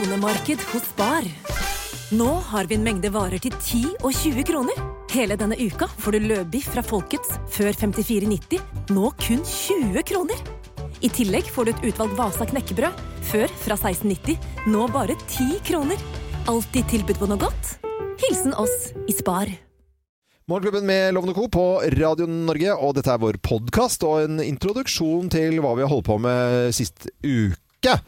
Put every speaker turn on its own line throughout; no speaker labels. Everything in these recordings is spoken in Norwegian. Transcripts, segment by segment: Månedsabonnemarked hos Spar. Nå har vi en mengde varer til 10 og 20 kroner. Hele denne uka får du løbiff fra Folkets før 54,90, nå kun 20 kroner. I tillegg får du et utvalgt Vasa knekkebrød, før fra 16,90, nå bare 10 kroner. Alltid tilbud på noe godt. Hilsen oss i Spar.
Morgenklubben med Lovende Co. på Radio Norge, og dette er vår podkast og en introduksjon til hva vi har holdt på med sist uke.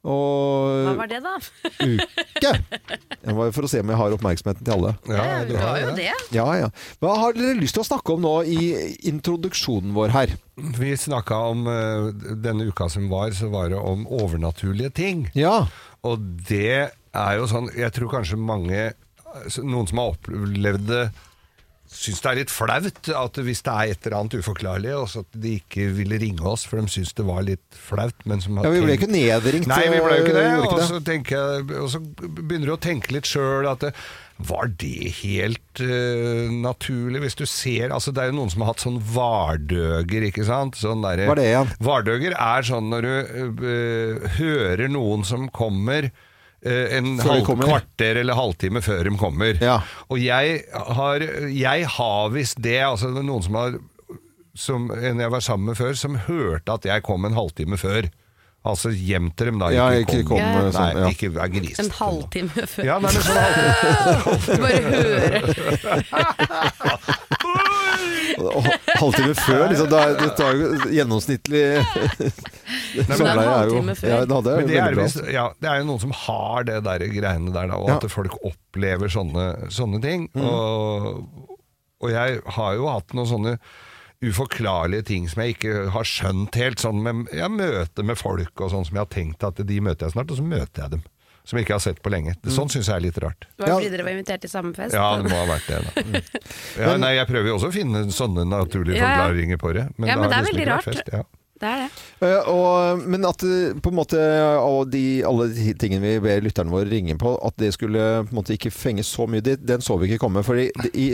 Hva
Og
var det, da?
uke! Det var jo for å se om jeg har oppmerksomheten til alle.
Ja, det var jo det.
Ja, ja. Hva har dere lyst til å snakke om nå i introduksjonen vår her?
Vi snakka om eh, Denne uka som var, så var det om overnaturlige ting.
Ja.
Og det er jo sånn Jeg tror kanskje mange Noen som har opplevd det Syns det er litt flaut at hvis det er et eller annet uforklarlig, og så at de ikke ville ringe oss, for de syns det var litt flaut. Men som har
ja vi ble
tenkt-
ikke nedringt. eh,
Nei, vi ble jo ikke det.
gjorde
Og, så tenker jeg, og så begynner du å tenke litt sjøl at det, var det helt eh, naturlig? Hvis du ser altså Det er jo noen som har hatt sånn vardøger, ikke sant? Sånn derre-
Hva er det igjen?
Vardøger er sånn når du eh, hører noen som kommer eh, en
Før de
halv,
kommer.
kvarter eller halvtime før de kommer.
Ja.
Og jeg har, jeg har visst det, altså det er noen som har som en jeg var sammen med før, som hørte at jeg kom en halvtime før. Altså hjem til dem da.
Ja, ikke kom,
Ja,
eh, sånn,
Nei,
ja.
ikke vær gris.
En halvtime før.
Ja, nei, men sånn halvtime.
Du bare hører.
Og Halvtime før, liksom. Det, er, det tar jo gjennomsnittlig Sommerleie
halvtime før.
ja, det hadde jeg
Men det er,
veldig bra.
visst- ja, det er jo noen som har det der greiene der, da, og
Ja. Mm.
at folk opplever sånne, sånne ting. Og, og jeg har jo hatt noen sånne uforklarlige ting som jeg ikke har skjønt helt. Sånn med, jeg møter med folk og sånn som jeg har tenkt at de møter jeg snart, og så møter jeg dem. Som jeg ikke har sett på lenge.
Mm.
Sånn syns jeg er litt rart.
Det var fordi dere var invitert til samme fest.
Ja,
da.
det må ha vært det, da. Mm. Ja, nei, jeg prøver jo også å finne sånne naturlige
Ja, ja.
forklaringer på det.
Ja, men det er
da har liksom
veldig
ikke vært
rart.
Fest, ja.
Det er det.
Eh, og, men at eh, på en måte og de, alle de tingene vi ber lytterne våre ringe på, at det skulle på en måte ikke fenge så mye, det, den så vi ikke komme. For i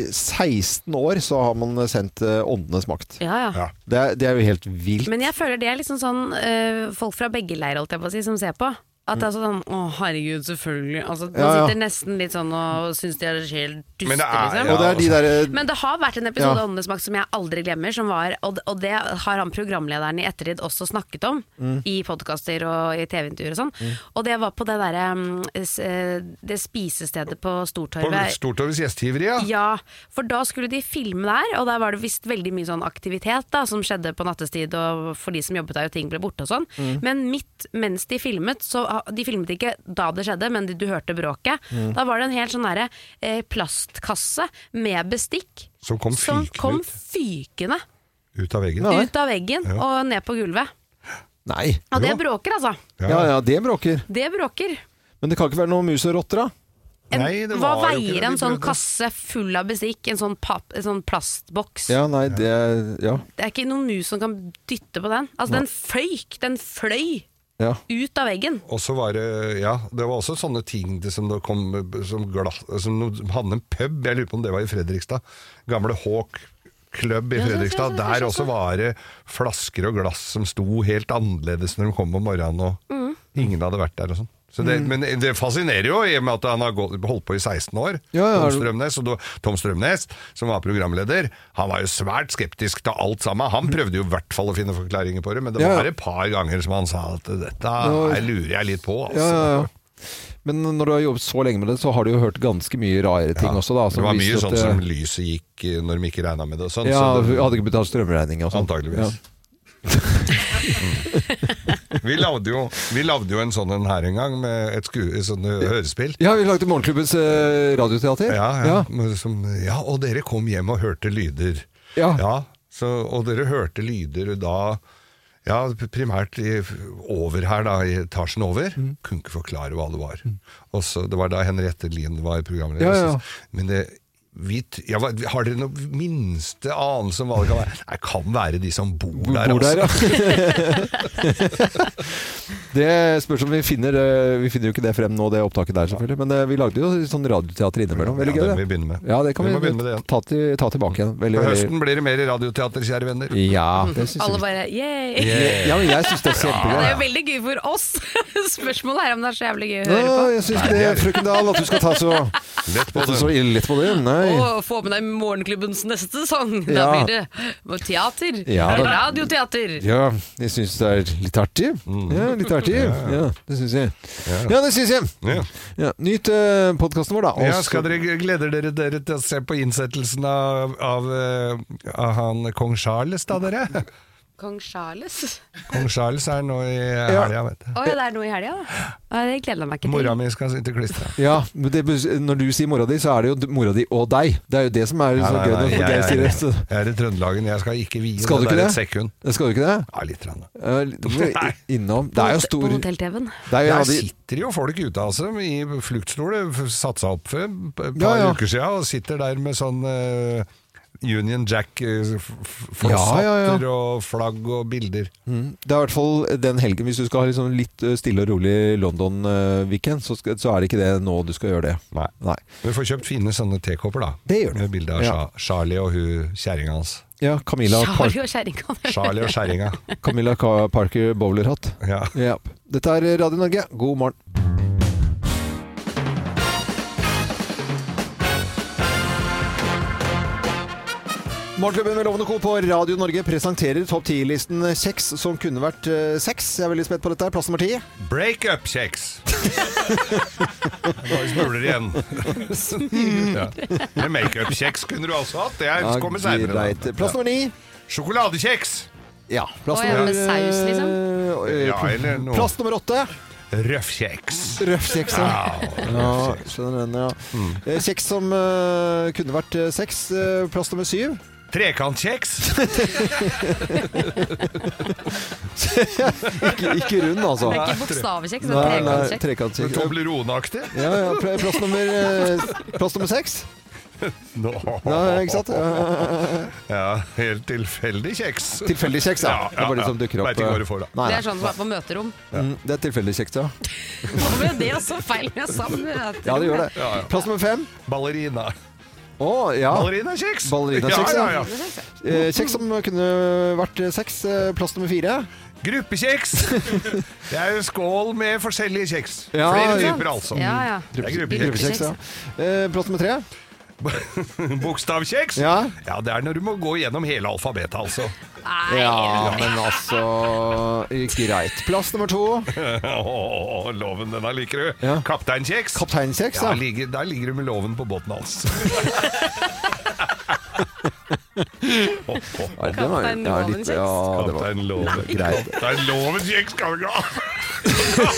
16 år så har man sendt eh, Åndenes makt.
Ja, ja.
Ja.
Det, er- det er jo helt vilt.
Men jeg føler det er liksom sånn øh, folk fra begge leirer, holdt jeg på å si, som ser på. At det er
Mm.
sånn Å, herregud, selvfølgelig. Altså, man
Ja, ja.
sitter nesten litt sånn og syns de er helt duste,
Men det er- altså.
liksom.
og det er de der eh,
Men det har vært en episode
Ja.
av Åndenes makt som jeg aldri glemmer, som var, og, og det har han programlederen i ettertid også snakket om,
Mm.
i podkaster og i TV-intervjuer og sånn.
Mm.
Og det var på det derre mm, s- eh, Det spisestedet på
På
Stortorvet.
Stortorvets gjestgiveri, ja.
Ja, for da skulle de filme der, og der var det visst veldig mye sånn aktivitet da, som skjedde på nattestid, og for de som jobbet der, og ting ble borte og sånn.
Mm.
Men midt mens de filmet, så ah, de filmet ikke da det skjedde, men de- du hørte bråket.
Mm.
Da var det en helt sånn derre eh, plastkasse med bestikk
Som kom
som
fykende
kom
ut.
fykende
ut av veggen.
Ja.
ut av veggen og ned på gulvet.
Nei.
Og det
Jo.
bråker, altså.
Ja ja, det bråker.
Det bråker.
Men det kan ikke være noe mus og rotter, da?
En,
Nei, det
hva
var jo ikke det
veier
de
en sånn
prøvde.
kasse full av bestikk, en sånn, papp, en sånn plastboks?
Ja, nei, det Ja.
Det er ikke noen mus som kan dytte på den. Altså, den føyk, den fløy
ja.
ut av veggen.
Og så var det Ja, det var også sånne ting det som det kom som glass Som no- som hadde en pub, jeg lurer på om det var i Fredrikstad. Gamle Hawk Club i
Ja, så- så-
Fredrikstad.
så- så-
Der
så-
også var det flasker og glass som sto helt annerledes når de kom om morgenen, og
Mm.
ingen hadde vært der og sånn. Så det,
Mm.
Men det fascinerer jo, i og med at han har gått- holdt på i 16 år.
Ja, ja,
Tom,
har du-
Strømnes, og da, Tom Strømnes, som var programleder, han var jo svært skeptisk til alt sammen. Han prøvde jo i hvert fall å finne forklaringer på det, men det
Mm. Ja, ja.
var et par ganger som han sa at dette
Ja.
her lurer jeg litt på, altså.
Ja, ja, ja. Men når du har jobbet så lenge med det, så har du jo hørt ganske mye rare ting også, da. som
det var
viser
mye
at,
sånn
eh,
som lyset gikk eh, når de ikke regna med det og sånn.
Ja,
så
hun
det,
hadde ikke betalt strømregning og sånn. Ja.
antageligvis. vi, lagde jo, vi lagde jo en sånn en her en gang, med et sku, et sånn eh, hørespill.
Ja, vi lagde Morgenklubbens eh, radioteater.
Ja, ja. men Som, ja, og dere kom hjem og hørte lyder.
Ja.
så, og dere hørte lyder da ja, primært i, over her, da, i etasjen over.
Mm.
Kunne ikke forklare hva det var. Og så, det var da Henriette Lien var programleder.
Ja, ja.
Så- Men det vi, t- ja, hva- har dere noe minste anelse om hva det kan være? Det kan være de som bor
Bor
der,
der,
altså.
ja. det spørs om vi finner eh, Vi finner jo ikke det frem nå, det opptaket der, selvfølgelig. Men eh, vi lagde jo sånn radioteater innimellom. Veldig
Ja,
gøy.
det må
det.
vi begynne med.
Ja, det kan
Vi
vi,
må begynne med det igjen.
ta, til, ta tilbake igjen. Veldig,
På
veldig
høsten blir det mer radioteater, kjære venner.
Ja, det syns
Alle
jeg.
bare yeah.
Yeah.
Ja, men jeg syns det er
Det er jo
kjempegøy.
veldig gøy for oss. Spørsmålet er om det er så jævlig gøy å
Nå,
høre på.
jeg syns ikke det, frøken Dahl, at du skal ta så,
Lett på
ta
den.
så ille på det. Nei.
Og få med deg morgenklubbens neste sesong. Da
Ja.
blir det teater.
Ja, da-
Radioteater.
Ja, jeg syns det er litt artig.
Mm.
Ja, litt artig. Ja, det syns jeg. Ja, det syns jeg.
Ja.
Ja, nyt uh, podkasten vår, da.
Ja,
Og så-
skal dere, gleder dere dere til å se på innsettelsen av, av, eh, av han kong Charles, da, dere?
Kong Charles.
Kong Charles er nå i helga, vet du.
Å ja, det er noe i helga, da. Å, Det gleder jeg meg ikke til.
Mora mi skal sitte klistra.
Ja, men det, når du sier mora di, så er det jo d- mora di og deg. Det er jo det som er så gøy når Geir sier det. Så.
Jeg er i Trøndelagen, jeg skal ikke vie
Skal du
det
ikke
der
det?
et sekund.
Skal du ikke det?
Ja, litt. Rann.
Eh, litt-
Nei.
Innom. Det er jo
På
stor det
hotell-TV-en.
er jo,
Der
ja, de,
sitter jo folk ute av seg i fluktstol, f- satt seg opp for et par
Ja, ja.
uker siden, og sitter der med sånn eh, Union eh, Jack-flossatter
Ja, ja, Mm.
og flagg og bilder.
det er i hvert fall den helgen. Hvis du skal ha liksom litt eh, stille og rolig London-weekend, så, skal- så er det ikke det nå du skal gjøre det.
Nei.
Nei.
Du får kjøpt fine sånne tekopper, da.
Det gjør du.
Med bilde av
Ja.
Sha- Charlie og hun kjerringa hans.
Ja, Camilla, Par
Charlie og kjerringa.
Charlie og kjerringa.
Camilla Ka- Parker Bowlerhatt.
Ja.
Ja. Dette er Radio Norge, god morgen. Morgenklubben med Lovende Co. på Radio Norge presenterer topp 10-listen kjeks som kunne vært eh, sex. Jeg er veldig spent på dette. her. Plass nummer ti.
Breakup-kjeks! Bare smuler igjen. ja. Men Makeup-kjeks kunne du også hatt. Det er- kommer seinere.
greit. Plass nummer ni.
Sjokoladekjeks!
Ja. Plass
Å, ja, med
eh,
saus, liksom?
eh,
Ja, eller noe.
Plass nummer åtte.
Røffkjeks.
Røffkjeks. Ja. Ja, skjønner den, ja. Eh, Kjeks som eh, kunne vært eh, sex. Eh, plass nummer syv.
Trekantkjeks.
Ikke, ikke rund, altså.
Det er ikke bokstavekjekk, det er
Nei, nei,
trekantkjekk.
trekantkjekk.
Toblerone-aktig.
Ja, ja, pl- plass nummer eh, Plass nummer seks.
No.
Ja, ikke sant? Ja,
Ja, helt tilfeldig kjeks.
Tilfeldig kjeks, ja.
Ja, ja,
Det er bare det som
ja.
dukker opp. eh.
Vet ikke hva du får, da.
Nei,
Det
nei.
er sånn som er på møterom.
Mm, det er tilfeldig kjeks, ja.
Hva med det også feil med sammen?
Ja, det gjør det. Plass nummer fem.
Ballerina.
Å, ja.
Ballerinakjeks!
Ballerinakjeks,
ja.
ja.
ja, ja.
Eh, Kjeks som kunne vært seks. Eh, Plass nummer fire.
Gruppekjeks! Det er jo skål med forskjellige kjeks.
Ja,
Flere
ja.
typer, altså.
Ja, ja.
Det er gruppekjeks.
Gruppekjeks, ja. Eh, Plass nummer tre.
Bokstavkjeks?
Ja.
ja, det er når du må gå gjennom hele alfabetet, altså.
Nei,
Ja, men altså Greit. Plass nummer to.
Åh, loven, den her liker du.
Ja.
Kapteinkjeks.
Kapteinkjeks,
Ja,
ja.
ligger, der ligger du med loven på altså. båten hans.
Ja, det var-
Kaptein
ja, litt- ja, det var
Kaptein Loven.
greit.
Kaptein Loven kjeks skal du ikke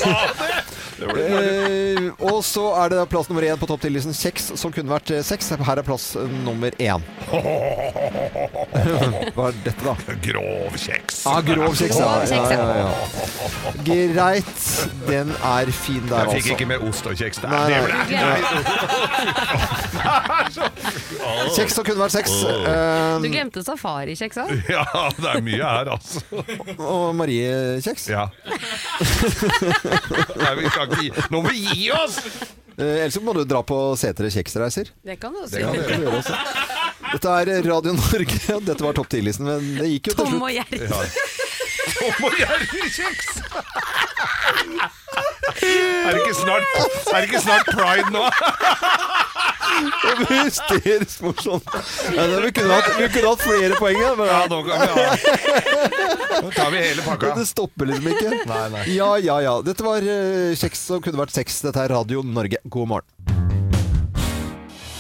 ha!
Eh, og så er det da plass nummer én på topp 10-listen kjeks, som kunne vært eh, seks. Her er plass eh, nummer én. Hva er dette, da?
Grovkjeks.
Ja, Ah, grov kjeks. Ja, ja, ja, ja. Greit. Den er fin der,
Jeg fikk ikke
altså.
med ost og kjeks. Det
Nei,
er det
nei.
ble-
Kjeks som kunne vært seks.
Du
Eh,
glemte safarikjeks òg.
Ja, det er mye her, altså.
og Marie-kjeks.
Ja. Nei, vi skal ikke gi Nå må vi gi oss!
Eh, ellers så må du dra på Setre kjeksreiser.
Det kan du også
Ja,
gjøre.
det kan du gjøre også. Dette er Radio Norge. Dette var topp 10-listen, men det gikk jo til
Tom
slutt.
og Jerry.
Nå må Jerry kjeks! Er det ikke snart, er det ikke snart pride nå?
Hysterisk morsomt. Ja, det- vi, kunne hatt, vi kunne hatt flere poeng, ja, men
Ja, nå kan vi ha Nå tar vi hele pakka.
Det stopper liksom ikke.
Nei, nei.
Ja, ja, ja. Dette var eh, kjeks som kunne vært sex. Dette er Radio Norge. God morgen.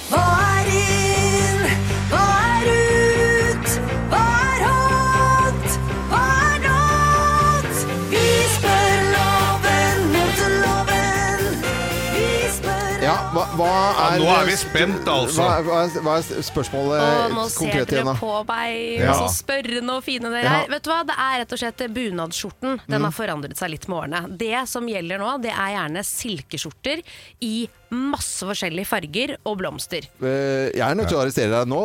Hva er inn? Hva er ut? Hva er hot? Hva er not? Vi spør loven mot loven. Vi spør
Ja, hva, hva
Ja,
er
nå er vi spent, altså.
Hva, hva, er- hva er spørsmålet
Og nå ser
eh, konkret
dere
igjen, da?
på meg
Ja.
og så spørrende og fine dere
Ja. Mm.
er. Vet du hva, det er rett og slett bunadsskjorten. Den har forandret seg litt med årene. Det som gjelder nå, det er gjerne silkeskjorter i masse forskjellige farger og blomster.
Eh, Jeg er nødt til å arrestere deg nå.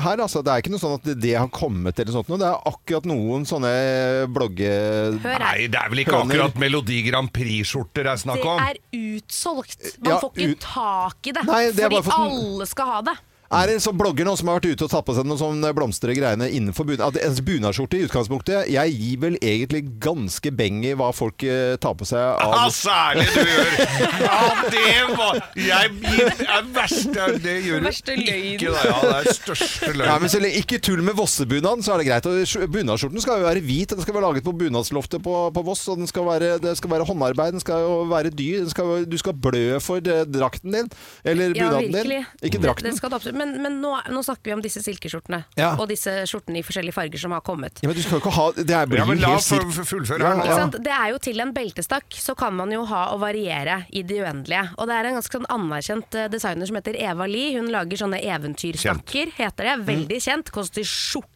her altså, Det er ikke noe sånn at det- det har kommet eller sånt noe. Det er akkurat noen sånne blogge...
Hør her.
Nei, det er vel ikke
Høner.
akkurat Melodi Grand Prix-skjorter det er snakk
Det
om?
er utsolgt. Man
Eh, Ja,
får ikke
ut-
tak i det,
Nei, det er
fordi
bare for at den-
alle skal ha det.
Er det så blogger nå som har vært ute og tatt på seg noen sånne blomstre greiene innenfor bunad? at En bunadsskjorte i utgangspunktet. Jeg gir vel egentlig ganske beng i hva folk eh, tar på seg
Ja,
av
særlig du gjør! Ja, det var Jeg gir den verste Det gjør du
Verste løgn.
ikke, da. Ja, det er største løgn.
ja, men så lenge- Ikke tull med Vossebunaden, så er det greit. Og sk- Bunadsskjorten skal jo være hvit. Den skal være laget på bunadsloftet på, på Voss. Og den skal være, det skal være håndarbeid. Den skal jo være dyr. Den skal, jo- du skal blø for eh, drakten din. Eller
Ja,
bunaden
virkelig.
din.
Det
Ikke drakten.
skal du absolutt- men men nå, nå snakker vi om disse silkeskjortene,
Ja.
og disse skjortene i forskjellige farger som har kommet.
Ja, men du skal jo ikke ha Det her blir
Ja, men
jo
la
helt
oss
sikkert
fullføre her nå.
Ja.
Ikke sant? Det er jo til en beltestakk, så kan man jo ha og variere i det uendelige. Og det er en ganske sånn anerkjent eh, designer som heter Eva Lie. Hun lager sånne eventyrstakker, heter det.
Mm.
Veldig kjent. Koster skjorta.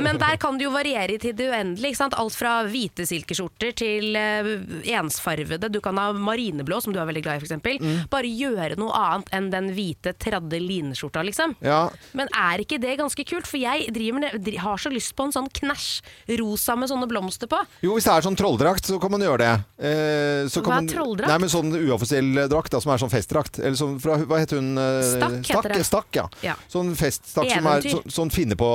Men der kan det jo variere til det uendelige. Ikke sant? Alt fra hvite silkeskjorter til eh, ensfarvede. Du kan ha marineblå, som du er veldig glad i, f.eks.
Mm.
Bare gjøre noe annet enn den hvite, tradde lineskjorta, liksom.
Ja.
Men er ikke det ganske kult? For jeg driver, med- dri- har så lyst på en sånn knæsj rosa med sånne blomster på.
Jo, hvis det er sånn trolldrakt, så kan man gjøre det. Eh, så
Hva er
kan man-
trolldrakt?
Nei, men sånn uoffisiell drakt, da, som er sånn festdrakt. Eller sånn fra, hva heter hun? eh,
Stakk heter
stakk,
det.
Stakk, ja.
Ja.
Sånn feststakk som er
Eventyr.
så, sånn finne på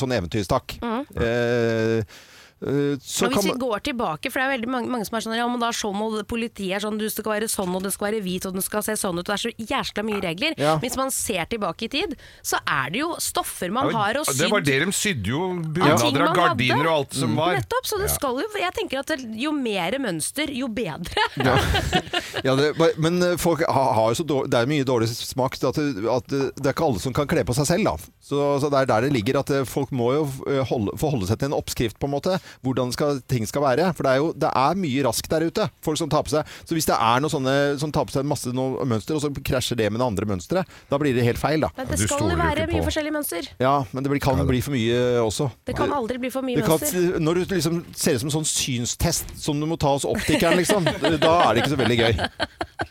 sånn eventyrstakk. Eh, eh, så
Og hvis
kan
vi
man
går tilbake, for det er veldig mange, mange som er sånn Ja, men da så må politiet er sånn Du skal være sånn, og det skal være hvit, og den skal se sånn ut. og Det er så jæskla mye regler.
Ja.
Hvis man ser tilbake i tid, så er det jo stoffer
Ja,
man
men
har og
Det var
sydd.
det de sydde jo.
Av ting
Bunader
man
av gardiner
hadde.
og alt som var.
Nettopp, så det skal jo Jeg tenker at det, jo mer mønster, jo bedre.
ja. ja, det, men eh, folk har, har jo så dårlig, det er mye dårlig smak så at, det- at eh, det det er ikke alle som kan kle på seg selv. Da. Så, så det er der det ligger at eh, folk må jo eh, holde, forholde seg til en oppskrift på en måte, hvordan skal, ting skal være. For det er jo det er mye raskt der ute, folk som tar på seg. Så hvis det er noen sånne som tar på seg masse noe mønster, og så krasjer det med det andre mønsteret, da blir det helt feil. Da.
Nei,
du
det skal
stoler
jo
jo
være
ikke
mye
på-
forskjellige mønster.
Ja, men det blir, kan bli for mye eh, også.
Det kan aldri bli for mye
Det kan,
mønster.
når du liksom ser ut som en sånn synstest som du må ta hos optikeren, liksom, da er det ikke så veldig gøy.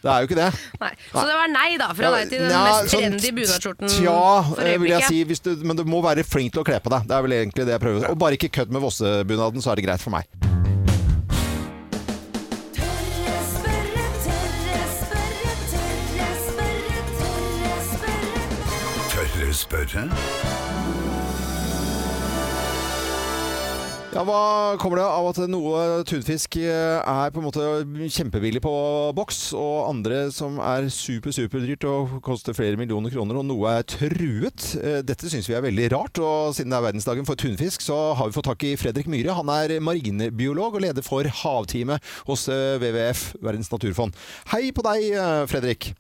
Det er jo ikke det.
Nei. Så det var nei, da, fra deg til den
Ja,
mest
sånn
trendy bunadsskjorten
Tja,
for
eh, vil
øyeblikket.
jeg si. Hvis du, men du må være flink til å kle på deg. Det er vel egentlig det jeg prøver. å si. Og bare ikke kødd med Vossebunaden, så er det greit for meg.
Tørre spørre, tørre spørre, tørre spørre, tørre spørre.
Tørre spørre?
Ja, Hva kommer det av at noe tunfisk eh, er på en måte kjempebillig på boks, og andre som er super, superdyrt og koster flere millioner kroner, og noe er truet? Eh, Dette syns vi er veldig rart, og siden det er verdensdagen for tunfisk, så har vi fått tak i Fredrik Myhre. Han er marinebiolog og leder for Havteamet hos eh, WWF, Verdens naturfond. Hei på deg, eh, Fredrik.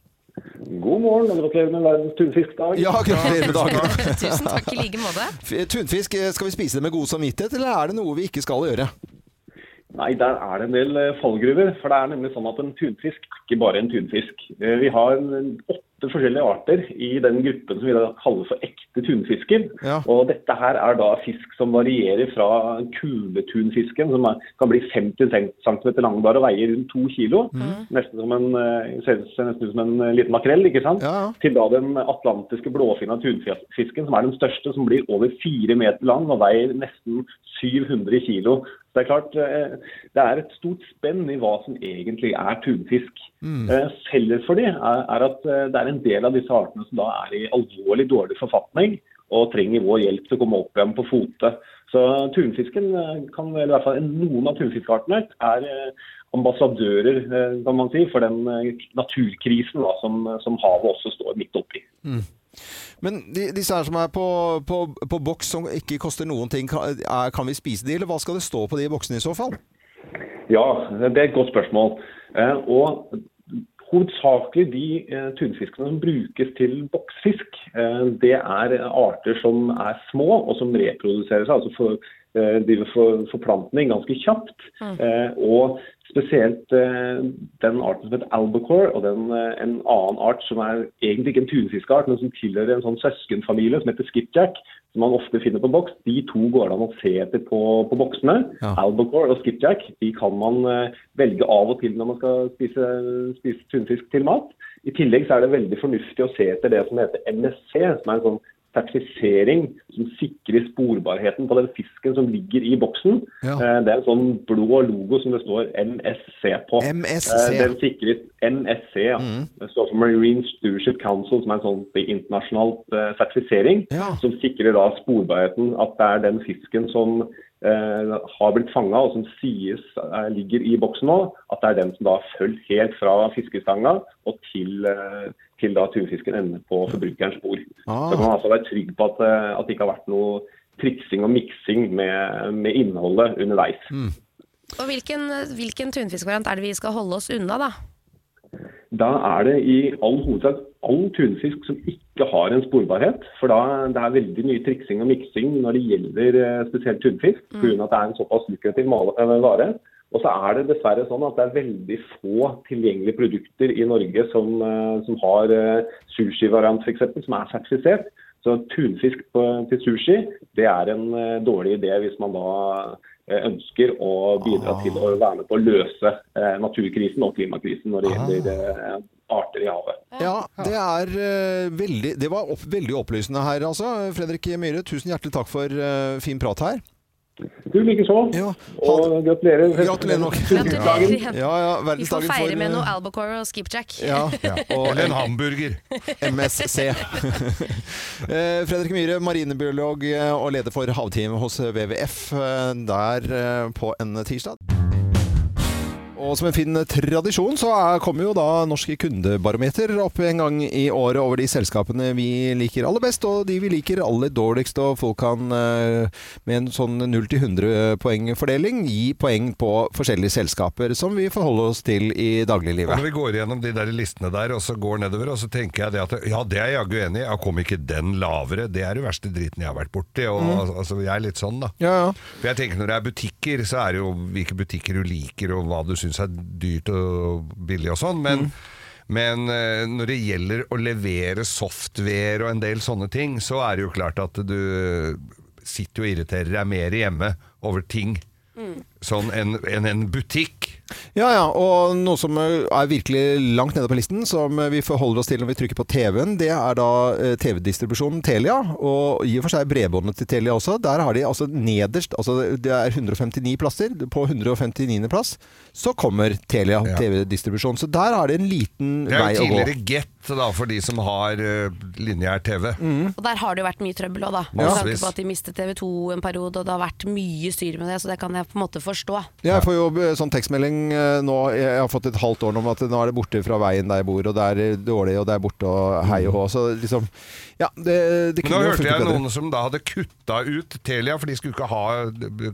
God morgen, og gratulerer med verdens tunfiskdag.
Ja, gratulerer med dagen.
Tusen takk i like måte.
F- Tunfisk, eh, skal vi spise det med god samvittighet, eller er det noe vi ikke skal gjøre?
Nei, der er det en del eh, fallgruver. For det er nemlig sånn at en tunfisk er ikke bare en tunfisk. Eh, Vi har en- en åtte forskjellige arter i den gruppen som vi da kaller for ekte tunfisker.
Ja.
Og dette her er da fisk som varierer fra kuletunfisken, som er, kan bli 50 cm lang bare og veier rundt 2 kg.
Mm.
Nesten som en, eh, ser ser nesten ut som en eh, liten makrell, ikke sant?
Ja, ja.
til da den atlantiske blåfinna tunfisken, som er den største, som blir over fire meter lang og veier nesten 700 kilo. Så det er klart, eh, det er et stort spenn i hva som egentlig er tunfisk. Eh, Felles for de er, er at eh, det er en del av disse artene som da er i alvorlig dårlig forfatning og trenger vår hjelp til å komme opp igjen på fote. Så tunfisken eh, kan, eller i hvert fall noen av tunfiskartene er eh, ambassadører eh, kan man si, for den eh, naturkrisen da, som, som havet også står midt oppi.
Mm. Men de, disse her som er på, på, på boks som ikke koster noen ting, kan, er, kan vi spise de, eller hva skal det stå på de boksene i så fall?
Ja, det er et godt spørsmål. Eh, Og hovedsakelig de eh, tunfiskene som brukes til boksfisk, eh, det er arter som er små og som
Mm.
Mm.
reproduserer seg, altså for, eh, driver for, forplantning ganske kjapt. eh, Og Spesielt eh, den arten som heter albacore, og den, eh, en annen art som er egentlig ikke en tunfiskart, men som tilhører en sånn søskenfamilie som heter skipjack, som man ofte finner på boks. De to går det an å se etter på, på boksene.
Ja.
Albacore og skipjack de kan man eh, velge av og til når man skal spise, spise tunfisk til mat. I tillegg så er det veldig fornuftig å se etter det som heter MSC, som er en sånn sertifisering som sikrer sporbarheten på den fisken som ligger i boksen.
Ja.
Eh, Det er en sånn blå logo som det står MSC på.
MSC.
Eh, Den sikrer MSC. Ja. Det står for Marine Stewardship Council, som er en sånn internasjonal eh, sertifisering
Ja.
som sikrer da sporbarheten. At det er den fisken som eh, har blitt fanga og som sies eh, ligger i boksen nå, at det er den som da har fulgt helt fra fiskestanga og til, eh, til da tunfisken ender på forbrukerens bord.
Ah.
Så kan man altså være trygg på at, eh, at det ikke har vært noe triksing og miksing med, med innholdet underveis.
Og hvilken, hvilken tunfiskvariant er det vi skal holde oss unna, da?
Da er det i all hovedsak all tunfisk som ikke har en sporbarhet. For da det er veldig mye triksing og miksing når det gjelder eh, spesielt tunfisk, pga. at det er en såpass lukrativ mal- eh, vare. Og så er det dessverre sånn at det er veldig få tilgjengelige produkter i Norge som, eh, som har eh, sushi-variant f.eks., som er sertifisert. Så tunfisk på, til sushi det er en eh, dårlig idé hvis man da eh, ønsker å bidra til å være med på å løse eh, naturkrisen og klimakrisen når det gjelder eh, arter i havet.
Ja, det er eh, veldig Det var opp, veldig opplysende her, altså. Fredrik Myhre, tusen hjertelig takk for eh, fin prat her.
Du likeså.
Ja, ha
Og gratulerer.
Gratulerer nok.
Gratulerer.
Ja,
Vi
ja,
får
verdensdagen for
feire med
eh,
noe albacore og skipjack.
ja, og
Eller en hamburger.
MSC. Eh, Fredrik Myhre, marinebiolog eh, og leder for havteamet hos WWF, eh, der eh, på en tirsdag. Og som en fin tradisjon så er- kommer jo da Norske kundebarometer opp en gang i året over de selskapene vi liker aller best, og de vi liker aller dårligst. Og folk kan eh, med en sånn 0-100 poengfordeling gi poeng på forskjellige selskaper som vi forholder oss til i
Og
dagliglivet.
Når vi går gjennom de der listene der, og så går nedover, og så tenker jeg det at ja, det er jeg jaggu enig i, jeg kom ikke den lavere, det er det verste driten jeg har vært borti, og altså, jeg er litt sånn da.
Mm. Ja, ja.
For jeg tenker når det er butikker, så er det jo hvilke butikker du liker, og hva du syns er dyrt og billig og sånn,
Mm.
men Men eh, når det gjelder å levere software og en del sånne ting, så er det jo klart at du eh, sitter og irriterer deg mer hjemme over ting sånn enn enn en butikk.
Ja, ja, og noe som eh, er virkelig langt nede på listen, som eh, vi forholder oss til når vi trykker på TV-en, det er da eh, TV-distribusjonen Telia, og i og for seg bredbåndet til Telia også. Der har de altså nederst, altså det er 159 plasser, på 159. plass, så kommer Telia
Ja.
TV-distribusjon. Så der har de en liten
Det
vei
er jo
å gå.
tidligere Get da, for de som har eh, lineær TV.
Mm,
Og der har det jo vært mye trøbbel òg, da. Med
Massevis.
tanke på at de mistet TV 2 en periode, og det har vært mye styr med det, så det kan jeg på en måte forstå.
Ja, Jeg får jo eh, sånn tekstmelding eh, nå, jeg har fått et halvt år nå om at nå er det borte fra veien der jeg bor, og det er eh, dårlig, og det er borte, og hei og hå. Så liksom, ja, det, det
Nå
kunne jo
hørte
funket
jeg
bedre.
noen som da hadde kutta ut Telia, for de skulle ikke ha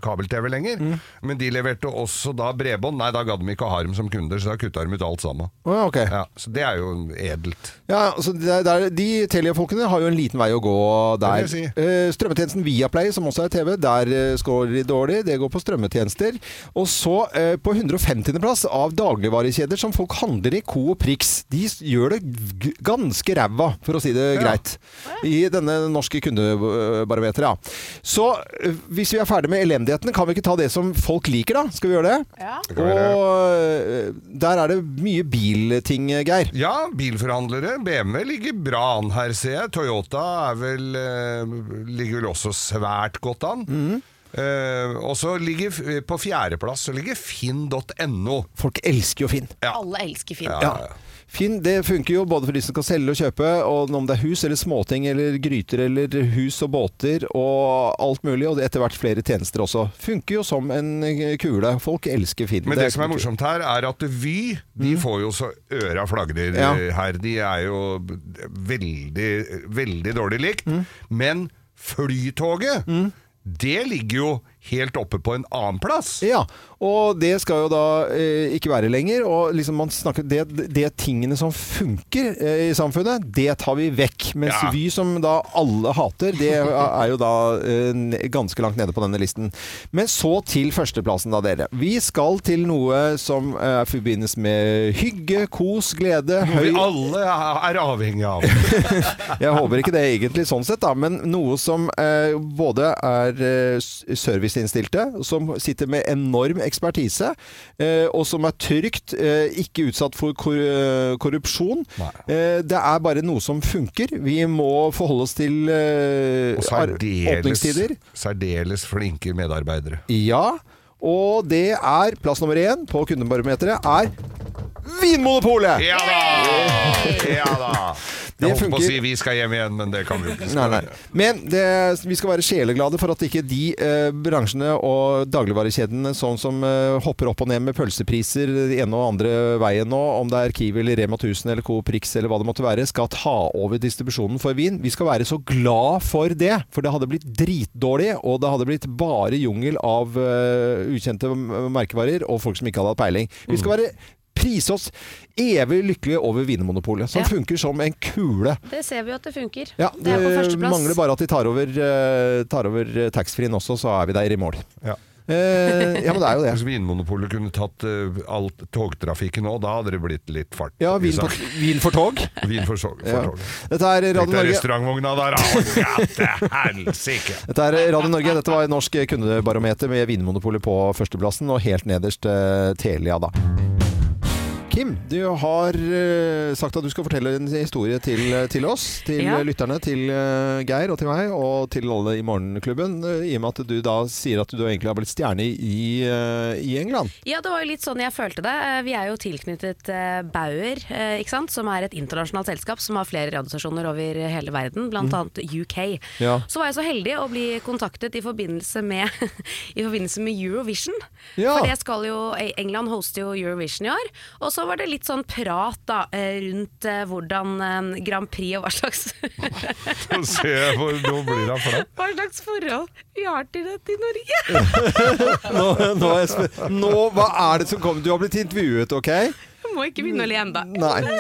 kabel-TV lenger.
Mm.
Men de leverte også da bredbånd. Nei, da gadd de ikke å ha dem som kunder, så da kutta de ut alt sammen.
Å, ja, ok.
Ja, så det er jo edelt.
Ja, altså det er- det er- De Telia-folkene har jo en liten vei å gå der.
Det vil jeg si.
Eh, strømmetjenesten Viaplay, som også er TV, der eh, scorer de dårlig. Det går på strømmetjenester. Og så eh, på 150.-plass av dagligvarekjeder som folk handler i, Co og Prix. De s- gjør det g ganske ræva, for å si det
Ja.
greit, i denne norske kundebarometeret. Ja. Så eh, hvis vi er ferdig med elendigheten, kan vi ikke ta det som folk liker, da? Skal vi gjøre det?
Det kan være-
Og eh, der er det mye bilting, Geir.
Ja, bilforhandlere. BMW ligger bra an her, ser jeg. Toyota er vel, eh, ligger vel også svært godt an.
Mm.
Eh, og så ligger f- på fjerdeplass så ligger finn.no.
Folk elsker jo Finn.
Ja.
Alle elsker Finn.
Ja.
Ja. Finn, det funker jo både for de som skal selge og kjøpe, og om det er hus eller småting eller gryter eller hus og båter og alt mulig, og etter hvert flere tjenester også. Funker jo som en kule. Folk elsker Finn.
Men det, som er morsomt her, er at Vy de får jo så øra flagrer
Mhm. Ja.
eh, her. De er jo veldig,
Mhm.
veldig dårlig likt. Men Flytoget, det ligger jo helt oppe på en annen plass.
Ja, og det skal jo da eh, ikke være lenger. Og liksom man snakker det, det tingene som funker eh, i samfunnet, det tar vi vekk. Mens
Ja.
Vy, som da alle hater, det er jo da eh, n- ganske langt nede på denne listen. Men så til førsteplassen, da, dere. Vi skal til noe som eh, forbindes med hygge, kos,
Noe
glede,
vi
høy
alle er avhengig av.
Jeg håper ikke det egentlig sånn sett, da, men noe som eh, både er eh, s- serviceinnstilte, som sitter med enorm ekspertise, eh, og som er trygt, eh, ikke utsatt for kor eh, korrupsjon.
Nei.
Eh, det er bare noe som funker. Vi må forholde oss til eh,
Og
ar-
særdeles,
åpningstider.
særdeles flinke medarbeidere.
Ja, og det er plass nummer én på kundebarometeret er Vinmonopolet!
Ja da! Ja da!
Det
Jeg holdt på
funker.
å si 'vi skal hjem igjen', men det kan vi jo ikke.
Nei, nei. Men det, vi skal være sjeleglade for at ikke de eh, bransjene og dagligvarekjedene sånn som eh, hopper opp og ned med pølsepriser det ene og andre veien nå, om det er Kiwi eller Rema 1000 eller Coop Rix eller hva det måtte være, skal ta over distribusjonen for vin. Vi skal være så glad for det, for det hadde blitt dritdårlig, og det hadde blitt bare jungel av eh, ukjente m- merkevarer og folk som ikke hadde hatt peiling. Vi skal være prise oss evig lykkelige over Vinmonopolet, som
Ja.
funker som en kule.
Det ser vi jo at det funker.
Ja,
det er på
det
førsteplass.
mangler bare at de tar over, eh, tar over eh, taxfree-en også, så er vi der i mål.
Ja.
Eh, ja, men det er jo det.
Hvis Vinmonopolet kunne tatt eh, all togtrafikken nå, da hadde det blitt litt fart. liksom.
Ja,
i
vin, på,
saken.
vin for tog.
Vin for, so- for
Ja.
toget.
Dette er Radio
Tenk deg
Norge.
restaurantvogna der, da! Å, ja, til helsike!
Dette er eh, Radio Norge. Dette var Norsk kundebarometer med Vinmonopolet på førsteplassen, og helt nederst eh, Telia, da. Kim, du har eh, sagt at du skal fortelle en historie til, eh, til oss, til
Ja.
lytterne, til eh, Geir og til meg, og til alle i Morgenklubben, eh, i og med at du da sier at du egentlig har blitt stjerne i, eh, i England.
Ja, det var jo litt sånn jeg følte det. Eh, Vi er jo tilknyttet eh, Bauer, eh, ikke sant? som er et internasjonalt selskap som har flere radiostasjoner over hele verden, bl.a.
Mm.
annet UK.
Ja.
Så var jeg så heldig å bli kontaktet i forbindelse med, i forbindelse med Eurovision.
Ja.
For det skal jo, eh, England hoster jo Eurovision i år. Og så var det litt sånn prat da, eh, rundt eh, hvordan eh, Grand Prix og hva slags
Nå ser jeg hvor nå blir han flau.
Hva slags forhold vi har til dette i Norge?
Nå, nå, er jeg sp- nå, hva er det som kommer? Du har blitt intervjuet, OK?
Jeg må ikke begynne å le ennå.
Nei.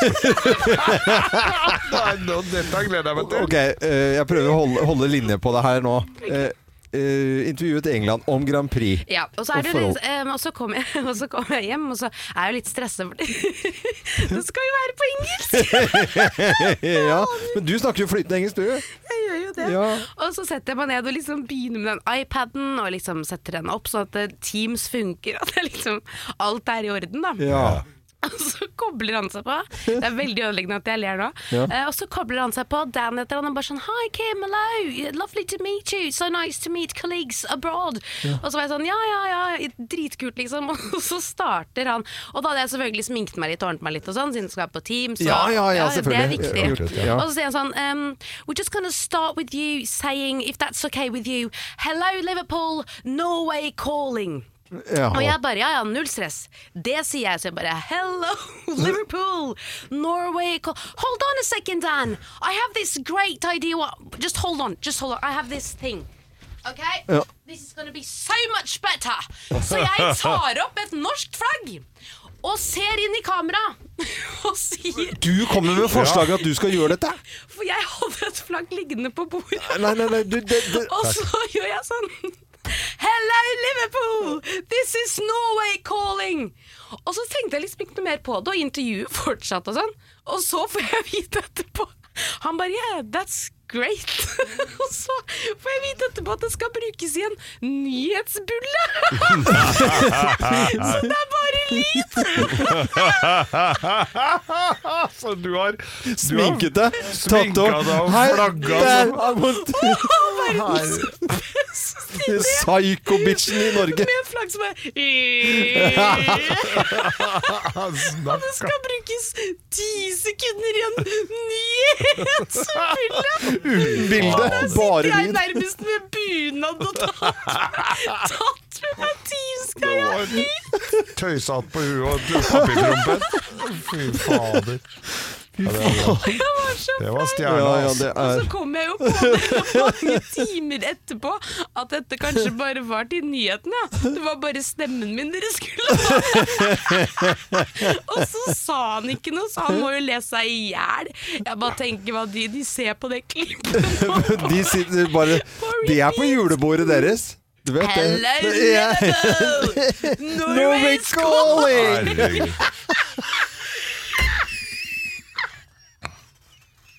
Nei, nå, dette gleder jeg meg til.
Ok, eh, jeg prøver å holde, holde linje på det her nå. Eh, eh, intervjuet i England om Grand Prix.
Ja, og så, er
Og
det, jo
forhold.
litt, em, og så kom jeg, og så kom jeg hjem, og så er jeg jo litt stressa. for Det skal jo være på engelsk!
Ja, men du snakker jo flytende engelsk, du.
Jeg gjør jo det.
Ja.
Og så setter jeg meg ned og liksom begynner med den iPaden, og liksom setter den opp sånn at eh, Teams funker, at det liksom alt er i orden, da.
Ja.
Og så kobler han seg på. Det er veldig ødeleggende at jeg ler nå.
Ja.
Eh, og så kobler han seg på. Dan heter han og bare sånn Hi Kim, hello, lovely to meet you, so nice to meet colleagues abroad. Og så var jeg sånn ja, ja, ja, dritkult, liksom. Og så starter han. Og da hadde jeg selvfølgelig sminket meg litt og ordnet meg litt og sånn, siden det skal være på Teams. og-
Ja, ja, ja,
Det er
selvfølgelig.
viktig.
Ja, gjort det, ja.
Og så sier han sånn um, We're just gonna start with you saying, if that's okay with you, hello Liverpool, Norway calling.
Ja.
Og jeg bare, ja ja, null stress. Det sier jeg, så jeg bare Hello, Liverpool! Norway call. Hold on a second, Dan! I have this great idea what Just hold on, just hold on. I have this thing. Okay?
Ja.
This is gonna be so much better! Så jeg tar opp et norsk flagg og ser inn i kamera og sier
Du kommer med forslaget at du skal gjøre dette?
For jeg hadde et flagg liggende på bordet.
Nei, nei, nei. Du, det, det.
Og så gjør jeg sånn Hello Liverpool, this is Norway calling Og så tenkte jeg liksom ikke noe mer på det Og intervjuet fortsatt og sånn Og så får jeg vite etterpå Han bare, yeah, that's great Og så får jeg vite etterpå at det skal brukes i en nyhetsbulle Så det er bare lyd
Så du har
Sminket deg,
Sminka
tatt opp
deg og
Hei,
flagget
der
som-
er mot- Psycho-bitchen i Norge.
Med en flagg som er
Snakk.
Det skal brukes ti sekunder i en nyhetsbulle
Uten bilde,
Jeg
bare
er
lyd.
nærmest med bunad og tatt Tatt med meg
Det
teamsgreia
var tøysatt på huet og papirkrumpen. Fy fader. Det var stjerna.
Ja, ja,
ass.
det
Og
er
så kom jeg jo på det mange timer etterpå at dette kanskje bare var til nyhetene. Ja. Det var bare stemmen min dere skulle ha. og så sa han ikke noe, så han må jo lese seg i hjel. Jeg bare tenker hva de, de ser på det klippet nå.
De sitter bare De er på julebordet deres. Du vet det.
Hello,
Ja.
Hello!
Norway's
Norway's
calling!
Herregud.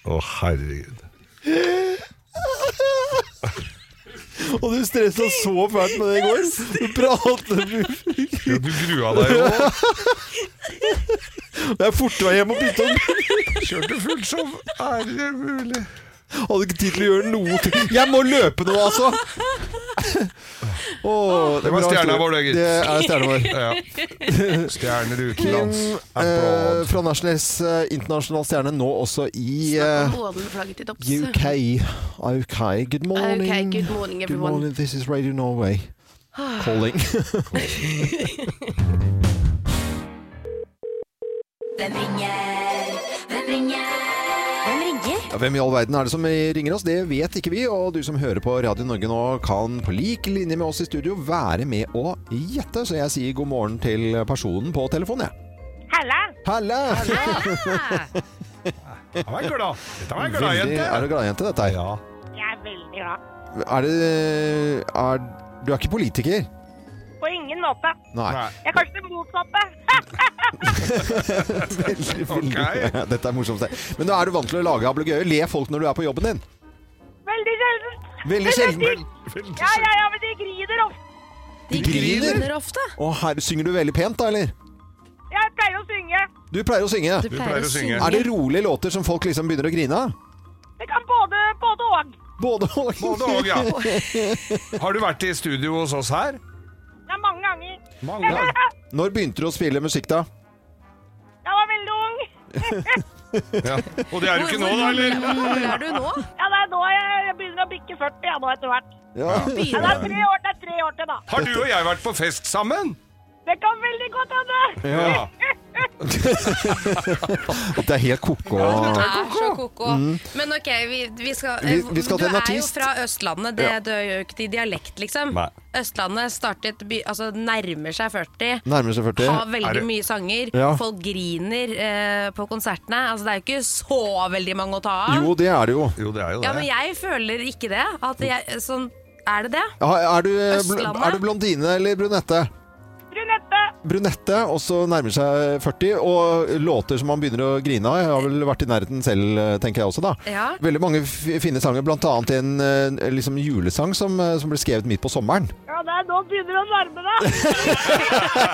Å, herregud.
Og du stressa så fælt med det i går. Du pratet
Ja, du grua deg jo.
Det er fortere hjem og bytte om.
Kjørte fullt som er det mulig.
Hadde ikke tid til å gjøre noe til. Jeg må løpe nå, altså! Åh,
Det var
bra
stjerna
historie.
vår, det, gitt.
Det er stjerna vår.
Ja. Stjerner
Kim
utenlands.
eh,
Abroad.
fra Nationals, eh, internasjonal stjerne, nå også i eh, UK. UK. Good morning.
Okay, good morning,
Good
everyone.
morning, this is Radio Norway. Calling.
Hvem ringer? Hvem ringer?
Hvem ringer?
Ja, Hvem i all verden er det som ringer oss? Det vet ikke vi, og du som hører på Radio Norge nå kan på lik linje med oss i studio være med å gjette, så jeg sier god morgen til personen på telefonen, jeg. Halla!
Dette var en glad. Dette var en glad
Veldig, er du
jente.
gladjente, dette her?
Ja.
Jeg er veldig glad.
Er det er, Du er ikke politiker?
På ingen måte.
Nei.
Nei.
Jeg er kanskje det motsatte.
Veldig,
Ok.
veldig- Dette er morsomt. det. Men nå er du vant til å lage ablegøyer. Le folk når du er på jobben din.
Veldig sjelden.
Veldig sjelden.
Veldig
Ja, ja, ja, men de griner ofte.
De
Griner ofte.
Å, herre, synger du veldig pent, da, eller?
Jeg pleier å synge.
Du pleier å synge.
Du
pleier å synge.
Er det rolige låter som folk liksom begynner å grine av?
Det kan både, både og.
Både og.
Både og, ja. Har du vært i studio hos oss her?
Det er mange ganger.
Mange ganger.
Når begynte du å spille musikk, da?
Jeg var veldig ung.
Ja. Og det er du ikke nå,
Hvor
da,
gammel-
eller?
hvor gammel er du nå?
Ja, det er nå jeg, jeg begynner å bikke 40 ja, nå etter hvert.
Ja.
Ja, det er tre år, det er tre år til da.
Har du og jeg vært på fest sammen?
Det kan veldig godt hende.
Ja.
Det er helt koko.
Det er så koko. Men ok, vi, vi skal, eh,
Vi- vi skal
Du
til en
er jo
artist.
fra Østlandet, det dør jo ikke til dialekt, liksom.
Nei.
Østlandet startet by, altså, nærmer seg 40.
Nærmer seg 40.
Har
Er
veldig
det-
mye sanger.
Ja.
Folk griner eh, på konsertene. Altså, det er jo ikke så veldig mange å ta av.
Jo, det er det jo.
Jo, det er jo
Ja, men
det.
jeg føler ikke det. At jeg, sånn, er det det?
Ja, Er du, eh, bl-
Østlandet?
er du blondine eller brunette?
Brunette.
Brunette, og så nærmer seg 40, og låter som man begynner å grine av. Jeg har vel vært i nærheten selv, eh, tenker jeg også, da.
Ja.
Veldig mange f- fine sanger, blant annet en eh, liksom julesang som, eh, som ble skrevet midt på sommeren.
Ja, det er nå begynner det å nærme deg.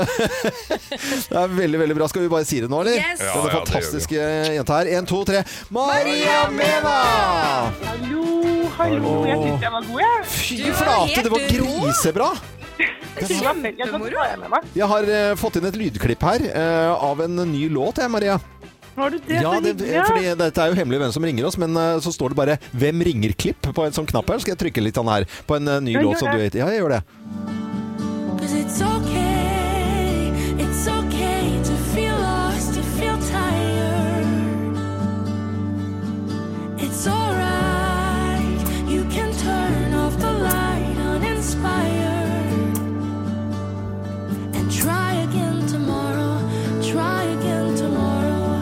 Det er veldig, veldig bra. Skal vi bare si det nå, eller?
Yes. Ja,
Denne
ja, det
fantastiske eh, jenta her. En, to, tre. Maria Mena!
Hallo, hallo. Jeg synes jeg var god, jeg.
Fy
Du var
flate,
helt
det var
rå.
grisebra!
Det var veldig godt å ta jeg med meg.
Jeg har eh, fått inn et lydklipp her eh, av en ny låt, jeg, Maria.
Har du det?
Ja,
så
det, eh,
hyggelig.
fordi dette er jo hemmelig hvem som ringer oss, men eh, så står det bare 'Hvem ringer?'-klipp på en sånn knapp her. Skal jeg trykke litt av den her på en eh, ny
Ja, gjør
låt som du vet. Ja, jeg gjør det.
Cause it's okay, it's okay to feel lost, to feel tired. It's alright, you can turn off the light uninspired. And try again tomorrow, try again tomorrow.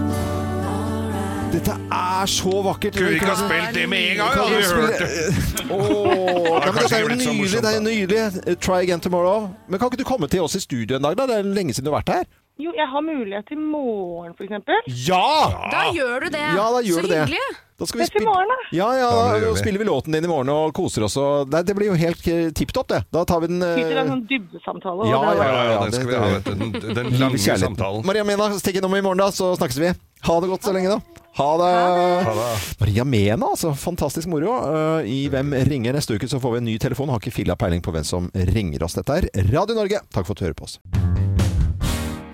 Alright.
Dette er så vakkert.
Kunne vi ikke ha spilt det med en gang? Hadde vi hørt det.
Åh, nei, men
kanskje
dette er jo
ikke blitt så
nydelig.
morsomt,
Det er jo nydelig. Eh, Try again tomorrow. Men kan ikke du komme til oss i studio en dag, da? Det er lenge siden du har vært her.
Jo, jeg har mulighet i morgen, for eksempel.
Ja!
Da gjør du det.
Ja, da gjør
så
du det.
hyggelig.
Da skal
Det
vi
er til
spille-
morgen, da.
Ja, ja,
Ja, det
da
gjør vi.
spiller vi låten din i morgen og koser oss. Og Nei, det blir jo helt eh, tipp topp, det. Da tar vi den eh,
Sitter det en sånn dybdesamtale. og
Ja,
det er
Ja,
ja,
bare-
ja, den skal vi ha, vet du. Den, den lange
Kjærligheten.
samtalen.
Maria Mena, stikk innom i morgen, da, så snakkes vi. Ha det godt så lenge, da. Ha det.
Ha det.
Maria Mena, altså. Fantastisk moro. Eh, I Hvem ringer neste uke, så får vi en ny telefon. Har ikke filla peiling på hvem som ringer oss. Dette er Radio Norge. Takk for at du hører på oss. Ja,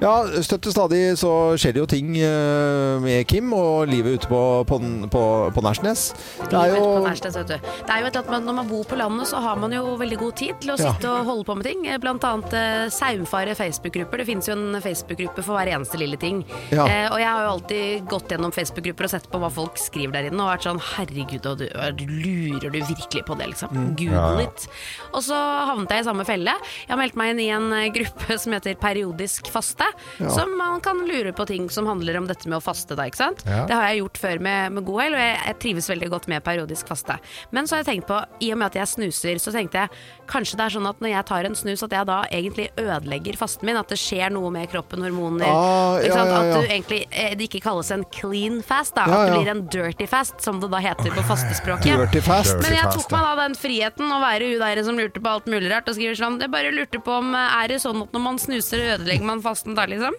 Ja, støtt og stadig så skjer det jo ting eh, med Kim og livet ute på, på, på, på Nærsnes. Det er
Livet
jo
på Nærsnes, vet du. Det er jo et eller annet, man- Når man bor på landet, så har man jo veldig god tid til å
Ja.
sitte og holde på med ting. Eh, Blant annet eh, saumfare Facebook-grupper. Det finnes jo en Facebook-gruppe for hver eneste lille ting.
Ja.
Eh, og jeg har jo alltid gått gjennom Facebook-grupper og sett på hva folk skriver der inne, og vært sånn herregud, og du, og du lurer du virkelig på det, liksom?
Mm.
Google
Ja, ja.
it. Og så havnet jeg i samme felle. Jeg har meldt meg inn i en eh, gruppe som heter Periodisk faste, som man kan lure på ting som handler om dette med å faste, da, ikke sant?
Ja.
Det har jeg gjort før med, med god hell, og jeg, jeg trives veldig godt med periodisk faste. Men så har jeg tenkt på, i og med at jeg snuser, så tenkte jeg kanskje det er sånn at når jeg tar en snus, at jeg da egentlig ødelegger fasten min. At det skjer noe med kroppen, hormoner.
Ah,
ikke
ja,
sant?
ja, ja.
At du egentlig, eh, det ikke kalles en clean fast, da.
Ja,
At det blir
ja.
en dirty fast, som det da heter på fastespråket.
Dirty Fast.
Men jeg
Dirty
tok
fast,
meg da den friheten å være hun der som lurte på alt mulig rart, og skriver sånn Jeg bare lurte på om eh, er det sånn at når man snuser, ødelegger man fasten da, liksom?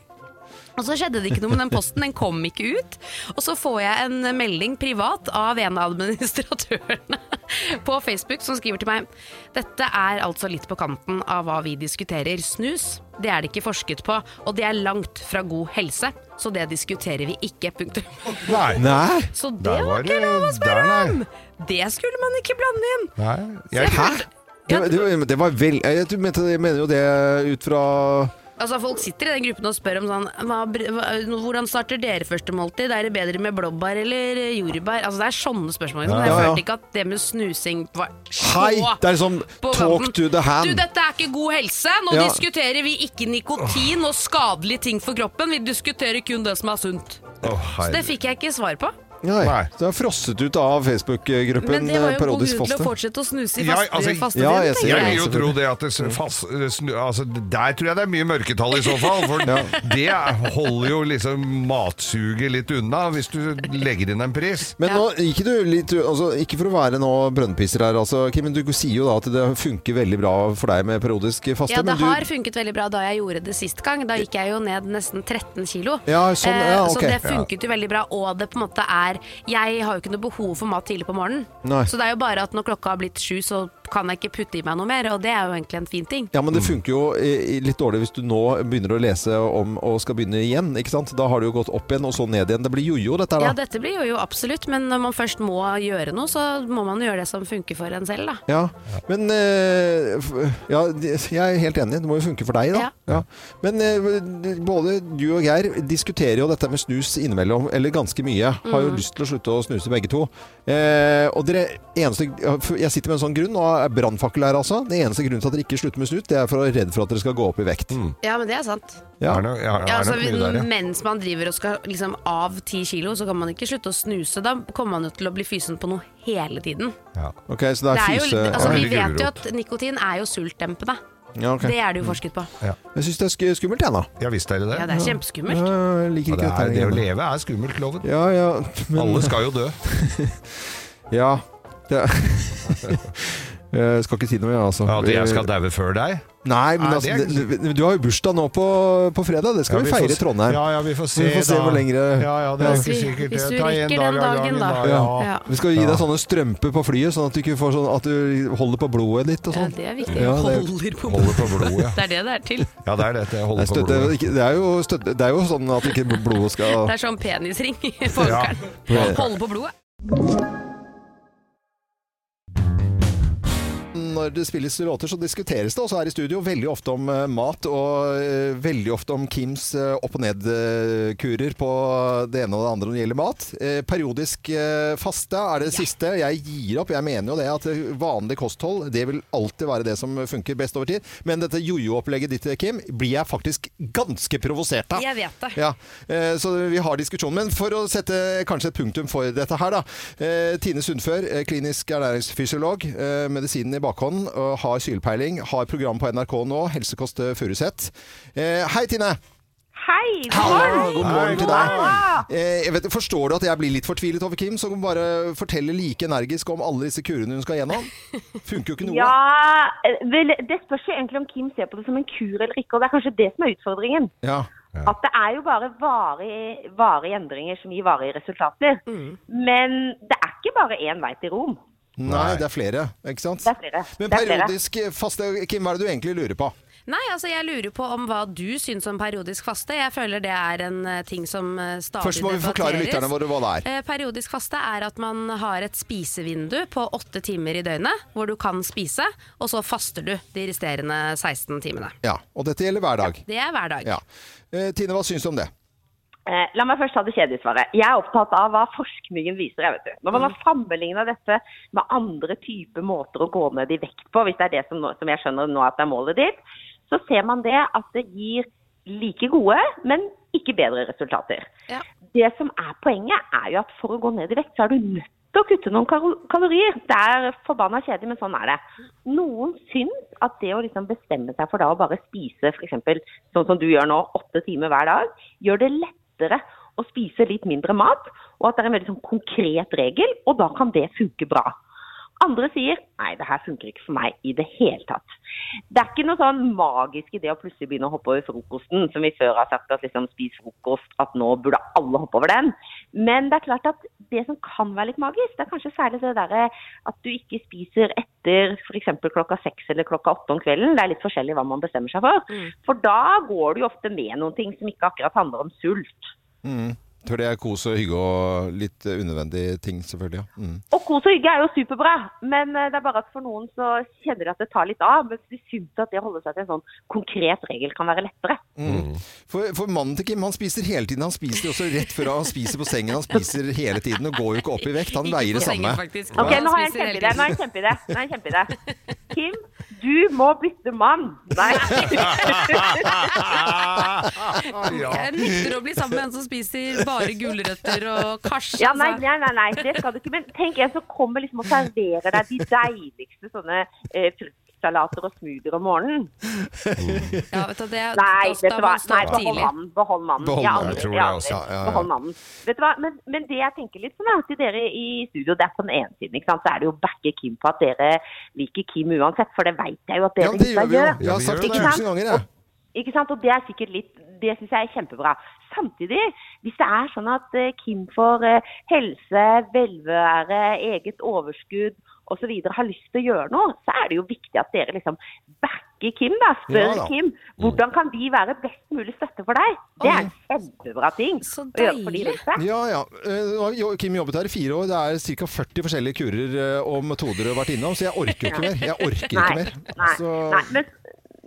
Og så skjedde det ikke noe med den posten, den kom ikke ut. Og så får jeg en melding privat av en av administratørene på Facebook som skriver til meg Dette er altså litt på kanten av hva vi diskuterer. Snus, det er det ikke forsket på, og det er langt fra god helse. Så det diskuterer vi ikke, punktum.
Nei.
Nei!
Så det
Der
var
var
ikke
det-
lov å spørre
der,
om! Det skulle man ikke blande inn.
Nei. Jeg,
Hæ? Det,
Ja,
det, det var vel Jeg tror- mente, jeg mener jo det ut fra
Altså Folk sitter i den gruppen og spør om sånn hva, hva, Hvordan starter dere første måltid? Er det bedre med blåbær eller eh, jordbær? Altså Det er sånne spørsmål. Liksom.
Ja,
Jeg
ja, ja.
følte ikke at det med snusing var så
Hei! Det er sånn
på
talk
kanten.
to the hand.
Du, dette er ikke god helse. Nå
Ja.
diskuterer vi ikke nikotin og skadelige ting for kroppen. Vi diskuterer kun det som er sunt.
Åh,
Så det
herregud.
fikk jeg ikke svar på.
Nei.
Nei.
Så jeg er frosset ut av
Men
Facebook-gruppen
det var
eh,
jo god grunn
Parodisk
til å
faste.
fortsette å snuse i
Ja,
faste,
altså,
fastetiden,
ja, jeg
tenker
ser
Jeg
det.
vil
jeg.
jo tro det at det s- fast, snu, altså, Der tror jeg det er mye mørketall i så fall. For det er- holder jo liksom matsuget litt unna, hvis du legger inn en pris.
Men nå gikk du litt altså, Ikke for å være nå brønnpisser her, altså, Kim, men du sier jo da at det funker veldig bra for deg med parodisk faste.
Ja, det
men du,
har funket veldig bra da jeg gjorde det sist gang. Da gikk jeg jo ned nesten 13 kilo.
Ja, sånn,
Eh,
ja,
Så
ok.
det funket jo veldig bra. Og det på en måte er Jeg har jo ikke noe behov for mat tidlig på morgenen.
Nei.
Så det er jo bare at når klokka har blitt sju, så kan jeg ikke putte i meg noe mer. Og det er jo egentlig en fin ting.
Ja, men det funker jo eh, litt dårlig hvis du nå begynner å lese om og skal begynne igjen. ikke sant? Da har det jo gått opp igjen og så ned igjen. Det blir jojo, dette
Ja,
her, da.
dette blir jo absolutt, men når man først må gjøre noe, så må man gjøre det som funker for en selv, da.
Ja, men eh, f- ja, de- jeg er helt enig. Det må jo funke for deg, da. Ja. Men eh, både du og Geir diskuterer jo dette med snus innimellom, eller ganske mye. Har
Mm.
jo lyst til å slutte å snuse, begge to. Eh, og dere, eneste, Jeg sitter med en sånn grunn, og er brannfakkel her, altså. Den eneste grunnen til at dere ikke slutter med snus, det er for å være redd for at dere skal gå opp i vekt.
Ja, men det er sant.
Ja.
Mm. Er det- er- er
Ja, altså,
det mye der, ja.
mens man driver og skal liksom, av ti kilo, så kan man ikke slutte å snuse. Da kommer man jo til å bli fysen på noe hele tiden.
Ja.
Ok, Så det er,
Det er jo,
fyse...
altså, vi vet
Veldig
jo
gulrot.
at nikotin er jo sultdempende.
ja, ok.
Det er det jo forsket på.
Jeg syns det er sk- skummelt, jeg, da.
Ja, visst er det det.
Ja, det er kjempeskummelt.
Ja, jeg liker
Ja,
ikke
det, er,
dette.
det å
her.
leve er skummelt, loven.
Ja, ja. Men,
Alle skal jo dø.
Ja. Det jeg skal ikke si noe, jeg, altså.
At jeg skal daue før deg.
Nei, men
Nei,
altså,
det er-
det- det- du har jo bursdag nå på, på fredag. Det skal
Ja,
vi,
får
feire i
se-
Trondheim.
Ja, ja, vi får se,
Vi får se
da.
hvor lenge det-
Ja, ja, det er
Hvis
ikke
vi-
sikkert.
hvis
det.
du
Ta
rekker
en
den
dag av
dagen, da.
gangen, da.
Ja.
Ja.
Ja.
Vi skal gi
Ja.
deg sånne strømper på flyet, sånn at du ikke får sånn at du holder på blodet ditt og
Ja,
sånn.
det er viktig.
Ja, det-
Holder på
Holde på blodet.
Det er det det er til.
Ja, det er det. Det
Nei,
holder på
støtte, det, er
blodet.
ikke- det, er jo støtte, det er jo sånn at ikke blodet skal
Det er sånn penisring i folkeren.
Ja.
Holde på blodet.
Når det spilles låter, så diskuteres det også her i studio veldig ofte om eh, mat, og eh, veldig ofte om Kims eh, opp- og nedkurer på det ene og det andre når det gjelder mat. Eh, periodisk eh, faste er det siste. Jeg gir opp. Jeg mener jo det at eh, vanlig kosthold det vil alltid være det som funker best over tid. Men dette jojo-opplegget ditt, Kim, blir jeg faktisk ganske provosert av.
Jeg vet det.
Ja, eh, så vi har diskusjon. Men for å sette kanskje et punktum for dette her, da. Eh, Tine Sundfør, eh, klinisk ernæringsfysiolog, eh, medisinen i bakhånd, og har sylpeiling. Har program på NRK nå, Helsekost Furuseth. Eh, Hei, Tine!
Hei!
Hallo, God morgen til deg. Eh, Jeg vet, forstår du at jeg blir litt fortvilet over Kim, som bare forteller like energisk om alle disse kurene hun skal gjennom? Funker jo ikke noe.
Ja, eh, vel, Det spørs jo egentlig om Kim ser på det som en kur eller ikke. og Det er kanskje det som er utfordringen.
Ja.
At det er jo bare varige, varige endringer som gir varige resultater.
Mm.
Men det er ikke bare én vei til Rom.
Nei, det er flere, ikke sant?
Det er flere.
Men
Det er flere.
periodisk faste, Kim, hva er det du egentlig lurer på?
Nei, altså jeg lurer på om hva du syns om periodisk faste. Jeg føler det er en eh, ting som eh, stadig
Først må vi forklare
debatteres.
lytterne våre hva det er.
Eh, Periodisk faste er at man har et spisevindu på åtte timer i døgnet, hvor du kan spise, og så faster du de resterende 16 timene.
Ja, Og dette gjelder hver dag.
Det er hver dag.
Ja. Eh, Tine, hva syns du om det?
Eh, La meg først ta det kjedelige svaret. Jeg er opptatt av hva forskningen viser. Jeg vet du. Når man har sammenligna dette med andre typer måter å gå ned i vekt på, hvis det er det som, nå- som jeg skjønner nå at det er målet ditt, så ser man det at det gir like gode, men ikke bedre resultater.
Ja.
Det som er poenget, er jo at for å gå ned i vekt, så er du nødt til å kutte noen karo- kalorier. Det er forbanna kjedelig, men sånn er det. Noen syns at det å liksom bestemme seg for da å bare spise f.eks. sånn som du gjør nå, åtte timer hver dag, gjør det lettere å spise litt mindre mat, og at det er en veldig sånn konkret regel, og da kan det funke bra. Andre sier nei, det her funker ikke for meg i det hele tatt. Det er ikke noe sånn magisk i det å plutselig begynne å hoppe over frokosten, som vi før har sagt at liksom spis frokost, at nå burde alle hoppe over den. Men det er klart at det som kan være litt magisk, det er kanskje særlig det derre at du ikke spiser etter f.eks. klokka seks eller klokka åtte om kvelden. Det er litt forskjellig hva man bestemmer seg for. For da går du jo ofte med noen ting som ikke akkurat handler om sult.
Mm. For det er kos og hygge og litt eh, unødvendige ting, selvfølgelig. Ja. Mm.
Og kos og hygge er jo superbra, men eh, det er bare at for noen så kjenner de at det tar litt av. Mens de syns at det å holde seg til en sånn konkret regel kan være lettere.
Mm. For, for mannen til Kim han spiser hele tiden. Han spiser jo også rett før han spiser på sengen. Han spiser hele tiden og går jo ikke opp i vekt. Han
Ikke
veier
på
det
sengen,
samme.
faktisk.
Ok,
Han
nå har jeg en
spiser hele
kjempeidé. Nå har jeg en kjempeidé. Nå har jeg en kjempeidé. Kim, du må bytte mann. Nei.
ja.
Jeg nekter å bli sammen med en som spiser bare gulrøtter og kars.
Ja, nei,
altså.
nei, nei, nei, det skal du ikke. Men tenk en som kommer liksom og serverer deg de deiligste sånne eh, fruktsalater og smoothier om morgenen.
Ja, vet du, det,
Nei,
da
vet
skal
du hva?
man stå
Nei,
opp
behold
tidlig.
mannen. Behold mannen.
Behold
Jeg
mannen,
angrer,
jeg tror
jeg
det også.
angrer.
Ja, ja, ja.
Behold mannen. Vet du hva? Men, men det jeg tenker litt sånn er til dere i studio, det er på den ene siden, ikke sant? så er det jo å backe Kim på at dere liker Kim uansett, for det vet jeg jo at
Ja,
dere
det gjør vi jo. Jeg
Ja,
har
vi
sagt det
gjør det.
tusen ganger, jeg.
Ikke sant? Og det er sikkert litt Det syns jeg er kjempebra. Samtidig, hvis det er sånn at eh, Kim for eh, helse, velvære, eget overskudd osv. har lyst til å gjøre noe, så er det jo viktig at dere liksom backer Kim. da, Spør
Ja da.
Kim hvordan kan vi være best mulig støtte for deg. Det er en kjempebra ting
Så
å gjøre for de
deilig.
rundt seg.
Ja, ja. Eh, nå har jo- Kim jobbet her i fire år. Det er ca. 40 forskjellige kurer eh, og metoder du har vært innom, så jeg orker jo ikke mer. Jeg orker ikke
Nei,
mer.
Nei,
Så,
nei men,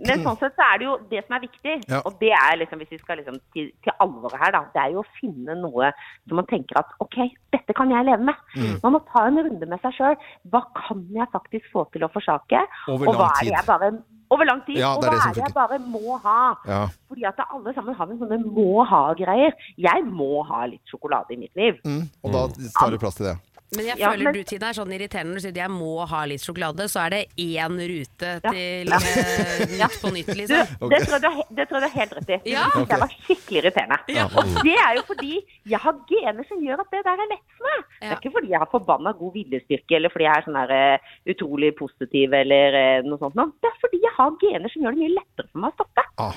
men sånn sett så er det jo det som er viktig,
Ja.
og det er liksom, hvis vi skal liksom til, til alvoret her, da, det er jo å finne noe som man tenker at OK, dette kan jeg leve med.
Mm.
Man må ta en runde med seg sjøl. Hva kan jeg faktisk få til å forsake?
Over
og hva
lang
er
tid.
det jeg bare over lang tid,
Ja,
og
det er
hva
det som
er det jeg
funker.
bare må ha?
ja.
Fordi at alle sammen har en sånne må ha-greier. Jeg må ha litt sjokolade i mitt liv.
Mm. Og da tar du plass til det.
Men jeg
Ja,
føler
men-
du Tina, er sånn irriterende når du sier at jeg må ha litt sjokolade, så er det én rute til
Ja.
eh, Nytt på nytt,
Du,
liksom.
det, tror jeg du, har he- det tror jeg du har helt rett i.
Ja.
Det synes jeg var skikkelig irriterende. Og det er jo fordi jeg har gener som gjør at det der er lett for meg. Det
Ja.
er ikke fordi jeg har forbanna god viljestyrke eller fordi jeg er sånn her eh, utrolig positiv eller eh, noe sånt. noe. Det er fordi jeg har gener som gjør det mye lettere for meg å stoppe.
Ah.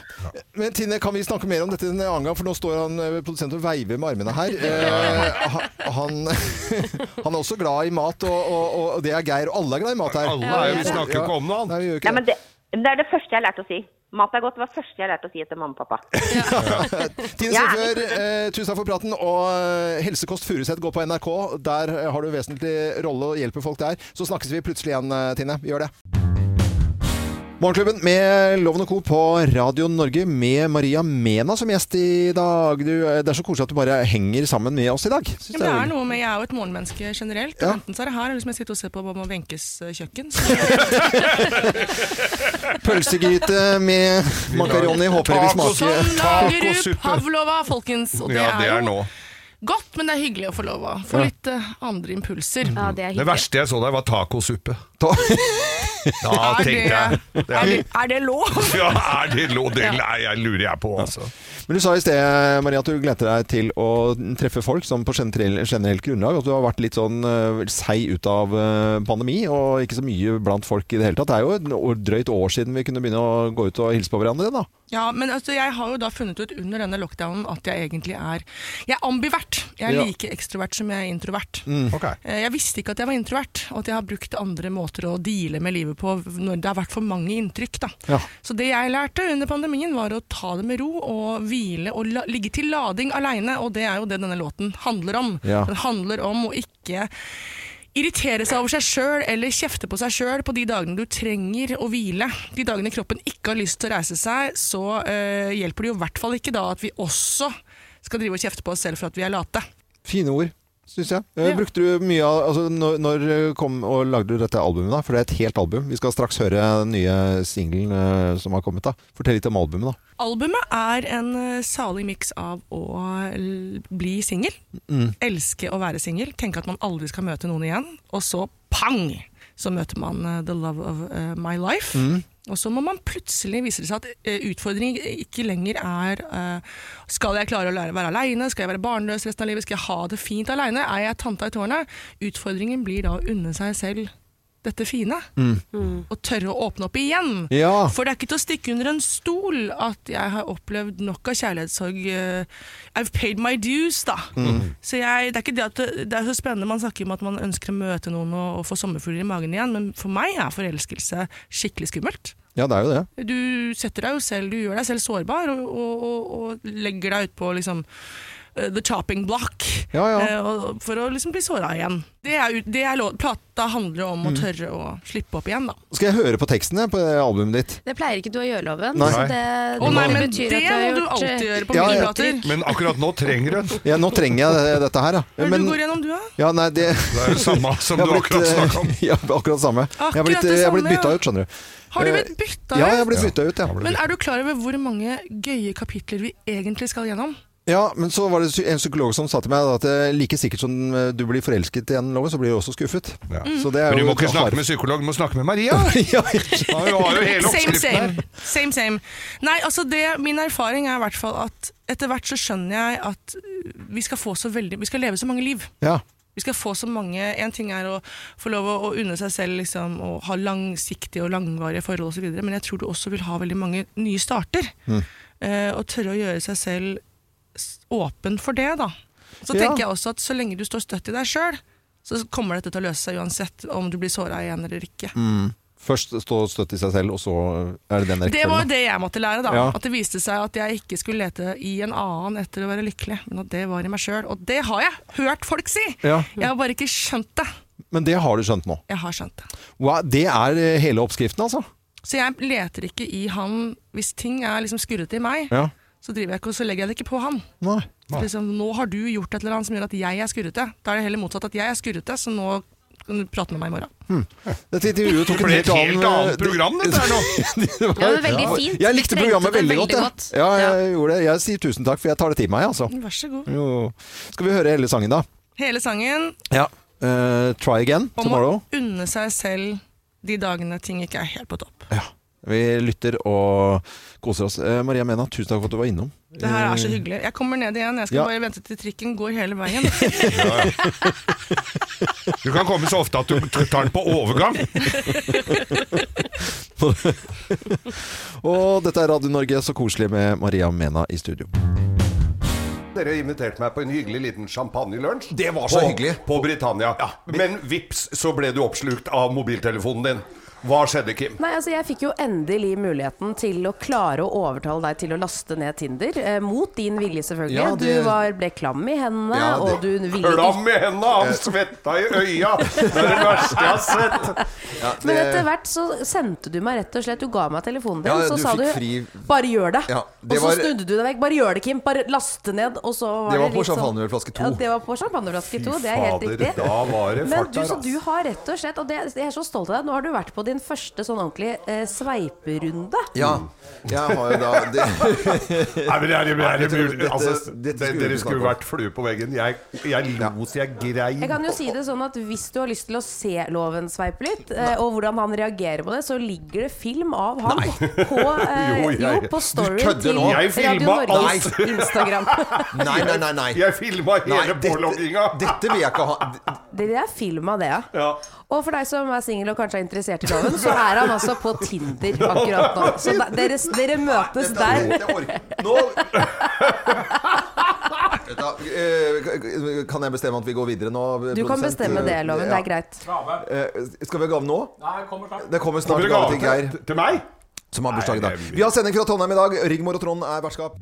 Men Tine, kan vi snakke mer om dette en annen gang? For nå står han eh, produsent og veiver med armene her. Eh, ha- han, han er også glad i mat, og, og, og det er Geir. Og alle er glad i mat her.
Alle er jo- vi snakker jo ikke om noe annet.
Nei, vi
Nei,
gjør ikke
men det, men det er det første jeg lærte å si. Mat er godt. Det var det første jeg lærte å si etter mamma og pappa.
det. Tine
Ja.
Sefjør, eh, tusen takk for praten. Og eh, Helsekost Furuseth går på NRK. Der eh, har du vesentlig rolle og hjelper folk der. Så snakkes vi plutselig igjen, eh, Tine. Vi gjør det. Morgenklubben med Loven og Co. på Radio Norge med Maria Mena som gjest i dag. Du, eh, det er så koselig at du bare henger sammen med oss i dag. Synes
Ja,
det
men det
er-
er noe med, Jeg er jo et morgenmenneske generelt.
Ja.
og Enten så er det her, eller hvis jeg sitter og ser på mamma Wenches eh, kjøkken. Så
Pølsegryte med makaroni håper jeg vil smake.
sånn lager du
Tacosuppe.
pavlova, folkens. Og det,
Ja, det er
er jo
nå.
godt, men det er hyggelig å få lov å få litt eh, andre impulser.
Mm.
Ja, det er hyggelig.
Det verste jeg så der, var tacosuppe.
Ta-
Da
Er det-
tenkte jeg det
Er
er,
det, er det lov?
Ja, er det lov? Det nei, jeg lurer jeg på, altså.
Men du sa i sted, Maria, at du gledte deg til å treffe folk som på generell- generelt grunnlag. At du har vært litt sånn eh, seig ut av eh, pandemi, og ikke så mye blant folk i det hele tatt. Det er jo et år- drøyt år siden vi kunne begynne å gå ut og hilse på hverandre, da.
Ja, men altså, jeg har jo da funnet ut under denne lockdownen at jeg egentlig er Jeg er ambivert. Jeg er
Ja.
like ekstrovert som jeg er introvert.
Ok.
Eh, Jeg visste ikke at jeg var introvert, og at jeg har brukt andre måter å deale med livet flue på når det har vært for mange inntrykk. Da.
Ja.
Så det jeg lærte under pandemien, var å ta det med ro og hvile og la, ligge til lading aleine, og det er jo det denne låten handler om.
Ja.
Den handler om å ikke Irritere seg over seg sjøl eller kjefte på seg sjøl på de dagene du trenger å hvile. De dagene kroppen ikke har lyst til å reise seg, så eh, hjelper det jo i hvert fall ikke da at vi også skal drive og kjefte på oss selv for at vi er late.
Fine ord, syns jeg. Eh, Brukte du mye av altså, når, når kom og lagde du dette albumet, da? For det er et helt album. Vi skal straks høre den nye singelen eh, som har kommet. da Fortell litt om albumet, da.
Albumet er en eh, salig miks av å l- bli singel, elske å være singel, tenke at man aldri skal møte noen igjen, og så pang! Så møter man eh, the love of eh, my life. Og så må man plutselig vise det seg at eh, utfordringen ikke lenger er eh, Skal jeg klare å lære å være aleine? Skal jeg være barnløs resten av livet? Skal jeg ha det fint aleine? Er jeg tanta i tårnet? Utfordringen blir da å unne seg selv dette fine.
Mm.
Og tørre å åpne opp igjen.
Ja.
For det er ikke til å stikke under en stol at jeg har opplevd nok av kjærlighetssorg. eh, I've paid my dues, da.
Mm.
Mm.
Så jeg, det, er ikke det, at det, det er så spennende man snakker om at man ønsker å møte noen og, og få sommerfugler i magen igjen, men for meg er forelskelse skikkelig skummelt.
ja, det er jo det.
Du setter deg jo selv, du gjør deg selv sårbar og, og, og, og legger deg ut på liksom eh, The chopping block
Ja, ja.
eh, og- for å liksom bli såra igjen. Det er, ut- det er lov, plata handler om
Mm.
å tørre å slippe opp igjen, da.
Skal jeg høre på tekstene på det albumet ditt?
Det pleier ikke du å gjøre, Loven.
Nei.
Så det,
Å nei,
det
men det
betyr at har
må du
gjort,
alltid gjøre på
Ja,
mine
ja.
plater.
Men akkurat nå trenger du den.
Ja, nå trenger jeg dette her,
Hva
ja.
er det
Men,
du går gjennom, du, da?
ja nei,
Det
det,
er jo samme som
jeg
du
har
akkurat
blitt, eh,
snakka om.
Ja, akkurat samme. Jeg har
Akkurat
blitt,
det
jeg har blitt
samme,
bytta
ja.
ut, skjønner du.
Har du
Eh,
blitt bytta
Ja, jeg har
ut?
blitt bytta ut, ja.
Men er du klar over hvor mange gøye kapitler vi egentlig skal gjennom?
Ja, men så var det psy- en psykolog som sa til meg da at eh, like sikkert som eh, du blir forelsket i en loven, så blir du også skuffet. Mm.
Ja.
Så det er
Men du
jo-
må ikke snakke med psykolog, du må snakke med Maria!
ja,
Du har jo- har jo hele
Same,
oppskriften her.
same. same, same. Nei, altså det, min erfaring er i hvert fall at etter hvert så skjønner jeg at vi skal, få så veldig, vi skal leve så mange liv.
ja.
Vi skal få så mange En ting er å få lov å, å unne seg selv liksom, å ha langsiktige og langvarige forhold osv., men jeg tror du også vil ha veldig mange nye starter.
Mm.
Eh, og tørre å gjøre seg selv s- åpen for det, da. Så
Ja.
tenker jeg også at så lenge du står støtt i deg sjøl, så kommer dette til å løse seg uansett om du blir såra igjen eller ikke.
Mm, Først stå støtt i seg selv, og så er det
Det var
den rekkefølgen.
jo det jeg måtte lære, da.
Ja.
At det viste seg at jeg ikke skulle lete i en annen etter å være lykkelig, men at det var i meg sjøl. Og det har jeg hørt folk si!
Ja.
Jeg har bare ikke skjønt det.
Men det har du skjønt nå.
Jeg har skjønt det.
Wow, det er eh, hele oppskriften, altså.
Så jeg leter ikke i han Hvis ting er liksom skurret i meg,
Ja.
så driver jeg ikke og så legger jeg det ikke på han.
Nei.
Liksom, nå har du gjort et eller annet som gjør at jeg er skurrete. Da er det heller motsatt at jeg er skurrete, så nå kan du prate med meg i morgen.
Hmm. Dette intervjuet tok
Det
en
ble et
helt annen eh,
helt annet program, dette her nå.
nå.
Ja, det var veldig fint.
Jeg
Vi
likte
trengte
programmet
det
veldig
veldig
godt. jeg.
godt.
Ja, jeg gjorde det. Jeg sier tusen takk, for jeg tar det til meg, altså.
Vær så god.
Jo. Skal vi høre hele sangen, da?
Hele sangen
Ja. Eh, try again
om
tomorrow.
å unne seg selv de dagene ting ikke er helt på topp.
Ja. Vi lytter og koser oss. Eh, Maria Mena, tusen takk for at du var innom.
Det her er så hyggelig. Jeg kommer ned igjen. Jeg skal
Eh. Ja.
bare vente til trikken går hele veien.
Du kan komme så ofte at du tar den på overgang.
Og dette er Radio Norge, så koselig med Maria Mena i studio.
Dere inviterte meg på en hyggelig liten champagnelunsj.
Det var så
på,
hyggelig.
På Britannia. Men vips, så ble du oppslukt av mobiltelefonen din. Hva skjedde, Kim?
Nei, altså Jeg fikk jo endelig muligheten til å klare å overtale deg til å laste ned Tinder. Eh, mot din vilje, selvfølgelig.
Ja, det-
Du var, ble klam i hendene,
Ja, det-
og du ville
Klam i henda,
Eh.
han svetta i øya! Det er det verste jeg har sett.
ikke Men etter hvert så sendte du meg rett og slett Du ga meg telefonen din,
Ja,
så
du
sa du
fikk fri-
'bare gjør det'.
Ja, det
og så
var-
snudde du deg vekk. 'Bare gjør det, Kim'. Bare laste ned. Og så var
Det
det,
var på
litt sånn-
champagneflaske to.
Ja, det var på champagneflaske to. Det er helt
fader,
riktig.
da var det
Men
fart
du,
der,
så
ass.
du har rett og slett Og det, jeg er så stolt av deg. Nå har du vært på din første sånn ordentlig eh, sveiperunde.
Ja, jeg har jo da det,
Nei, men det er, det er, det er,
Dette-
altså,
dette
det, dere
skulle vi ikke
skulle
snakke om.
vært flue på veggen. Jeg, jeg lo så jeg grein.
Jeg kan jo si det sånn at Hvis du har lyst til å se Loven sveipe litt, eh, og hvordan han reagerer på det, så ligger det film av han på, eh,
Jo,
jo,
jeg-
på storyen
kødder
til
nå.
Jeg
Radio
filma
Norges
alt.
Instagram.
Nei, nei, nei. nei.
Jeg filma
Nei,
hele pålogginga.
dette, dette vil jeg ikke ha.
Det er film av det,
Ja.
Og for deg som er singel og kanskje er interessert i Loven, så er han altså på Tinder akkurat nå. Så da, dere, dere møtes
Dette,
der.
det orker Nå Vet du hva, eh, kan jeg bestemme at vi går videre nå?
Du kan
produsent?
bestemme det, Loven. Det
Ja.
er greit.
Eh, Skal vi ha gave nå?
Nei, kommer snart.
Det kommer snart
Kommer det gave
gave til Geir.
til- til meg?
Som har bursdag i dag.
Nei, det er-
Vi har sending fra Trondheim i dag. Rigmor og Trond er vertskap.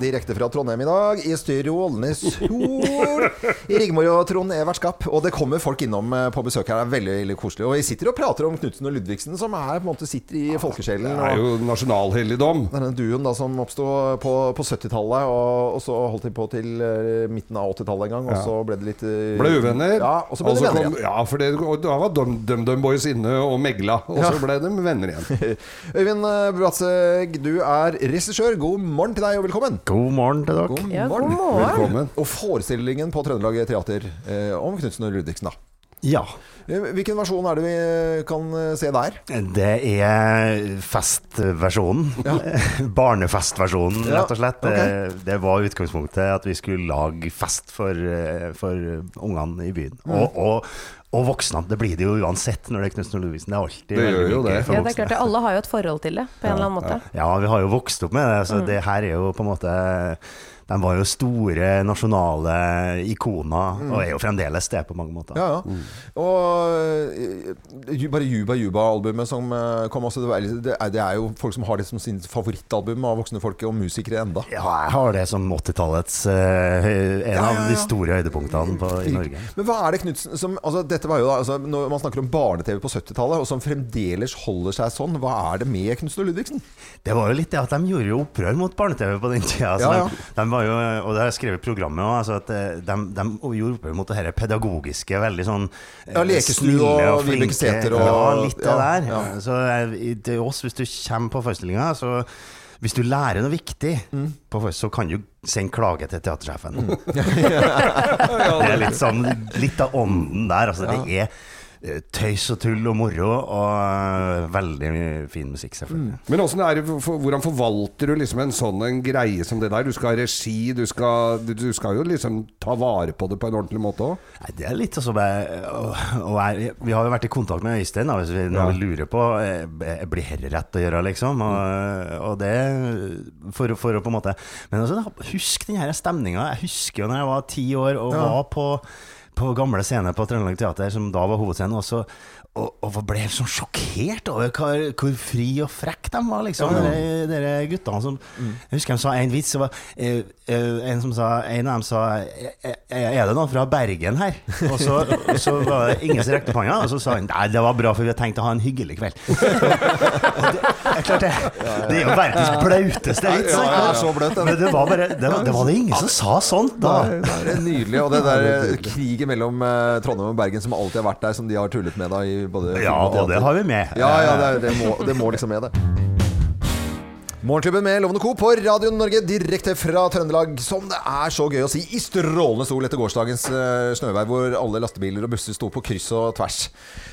Direkte fra Trondheim i dag, i studio Ålnes Sol. Rigmor og Trond er vertskap, og det kommer folk innom eh, på besøk her. Det er veldig, veldig koselig. Og vi sitter og prater om Knutsen og Ludvigsen, som er på en måte sitter i folkesjelen.
Ah, Det er jo nasjonalhelligdom.
Det er den duoen da som oppsto på, på 70-tallet, og, og så holdt de på til eh, midten av 80-tallet en gang, og
Ja.
så ble det litt eh,
Ble uvenner.
Ja, og så ble
og
de
så
venner
kom-
igjen.
Ja, for det, og da var Dum Dum Dum Boys inne og megla, og
Ja.
så ble de venner igjen.
Øyvind eh, Bratseg, du er regissør. God morgen til deg, og velkommen.
God morgen til dere.
Ja, god morgen. Velkommen.
Og forestillingen på Trøndelag Teater eh, om Knutsen og Ludvigsen, da.
Ja.
Eh, Hvilken versjon er det vi kan eh, se der?
Det er festversjonen. Barnefestversjonen,
Ja,
rett og slett.
ok.
Det, det var utgangspunktet at vi skulle lage fest for, eh, for ungene i byen.
Mm.
Og, og, og voksne. Det blir det jo uansett når det er Knutsen og Ludvigsen. Det er alltid
Det gjør
veldig
jo
gøy for
det.
Ja, det er
voksne.
klart det. Alle har jo et forhold til det, på en eller annen måte.
Ja, vi har jo vokst opp med det, så
Mm.
det her er jo på en måte De var jo store nasjonale ikoner,
Mm.
og er jo fremdeles det på mange måter.
Ja, ja.
Mm.
Og eh, ju- bare Juba Juba-albumet som eh, kom også, det, var, det, er, det er jo folk som har det som sin favorittalbum av voksne folk og musikere enda.
Ja, jeg har det som 80-tallets eh, hø- En
Ja,
av
ja,
de
ja.
store høydepunktene på, i Norge.
Men hva er det Knudsen som altså, Dette var jo da altså, Når man snakker om barne-TV på 70-tallet, og som fremdeles holder seg sånn, hva er det med Knudsen og Ludvigsen?
Det var jo litt det at de gjorde jo opprør mot barne-TV på den tida. Altså,
Ja, ja.
De, de var jo, og det har jeg skrevet i programmet òg, altså at eh, de, de gjorde opprør mot det her pedagogiske, veldig sånn eh,
Ja, Lekestue
snille
og Vibeke
flinke.
Sæther og-
Ja, litt det
ja,
der.
ja.
Så eh, i- til oss, hvis du kommer på forestillinga, så hvis du lærer noe viktig,
Mm.
på forest- så kan du sende klage til teatersjefen. det er litt, sånn, litt av ånden der. Altså, Det er eh, tøys og tull og moro, og eh, veldig mye fin musikk, selvfølgelig.
Mm. Men hvordan, er, det for- for- hvordan forvalter du liksom en sånn en greie som det der? Du skal ha regi, du skal, du- du skal jo liksom ta vare på det på en ordentlig måte òg.
Nei, det er litt sånn som jeg- og, og jeg, Vi har jo vært i kontakt med Øystein da, hvis vi, når
Ja.
vi lurer på eh, b- Blir herre rett å gjøre, liksom? Og, og det for, å- for å på en måte Men altså, husk den her stemninga. Jeg husker jo når jeg var ti år og
Ja.
var på på gamle scener på Trøndelag Teater, som da var hovedscenen, og, så- og, og ble sånn sjokkert over hvor, hvor fri og frekk de var, liksom.
Ja, Mm. ja.
Dere, dere guttene som Jeg husker de sa en vits. Det var, eh, eh, en, som sa, en av dem sa eh, eh, Er det noen fra Bergen her? Og så, og så var det ingen som rekte opp hånda, og så sa han nei, det var bra, for vi har tenkt å ha en hyggelig kveld. Det, det, er klart det, det er jo verdens blauteste vits.
Ja, ja, ja,
sant?
så bløt, den.
Men det var, bare, det, var, det var det ingen som sa sånn da.
Det er nydelig. Og det der eh, krigen mellom eh, Trondheim og Bergen som alltid har vært der, som de har tullet med da i både
Ja,
film og
det- det
teater.
har vi med.
Ja, ja, det, er- det, må, det må liksom med, det. Morgenklubben med Lovende Co. på Radio Norge direkte fra Trøndelag. Som det er så gøy å si i strålende sol etter gårsdagens eh, snøvær, hvor alle lastebiler og busser sto på kryss og tvers.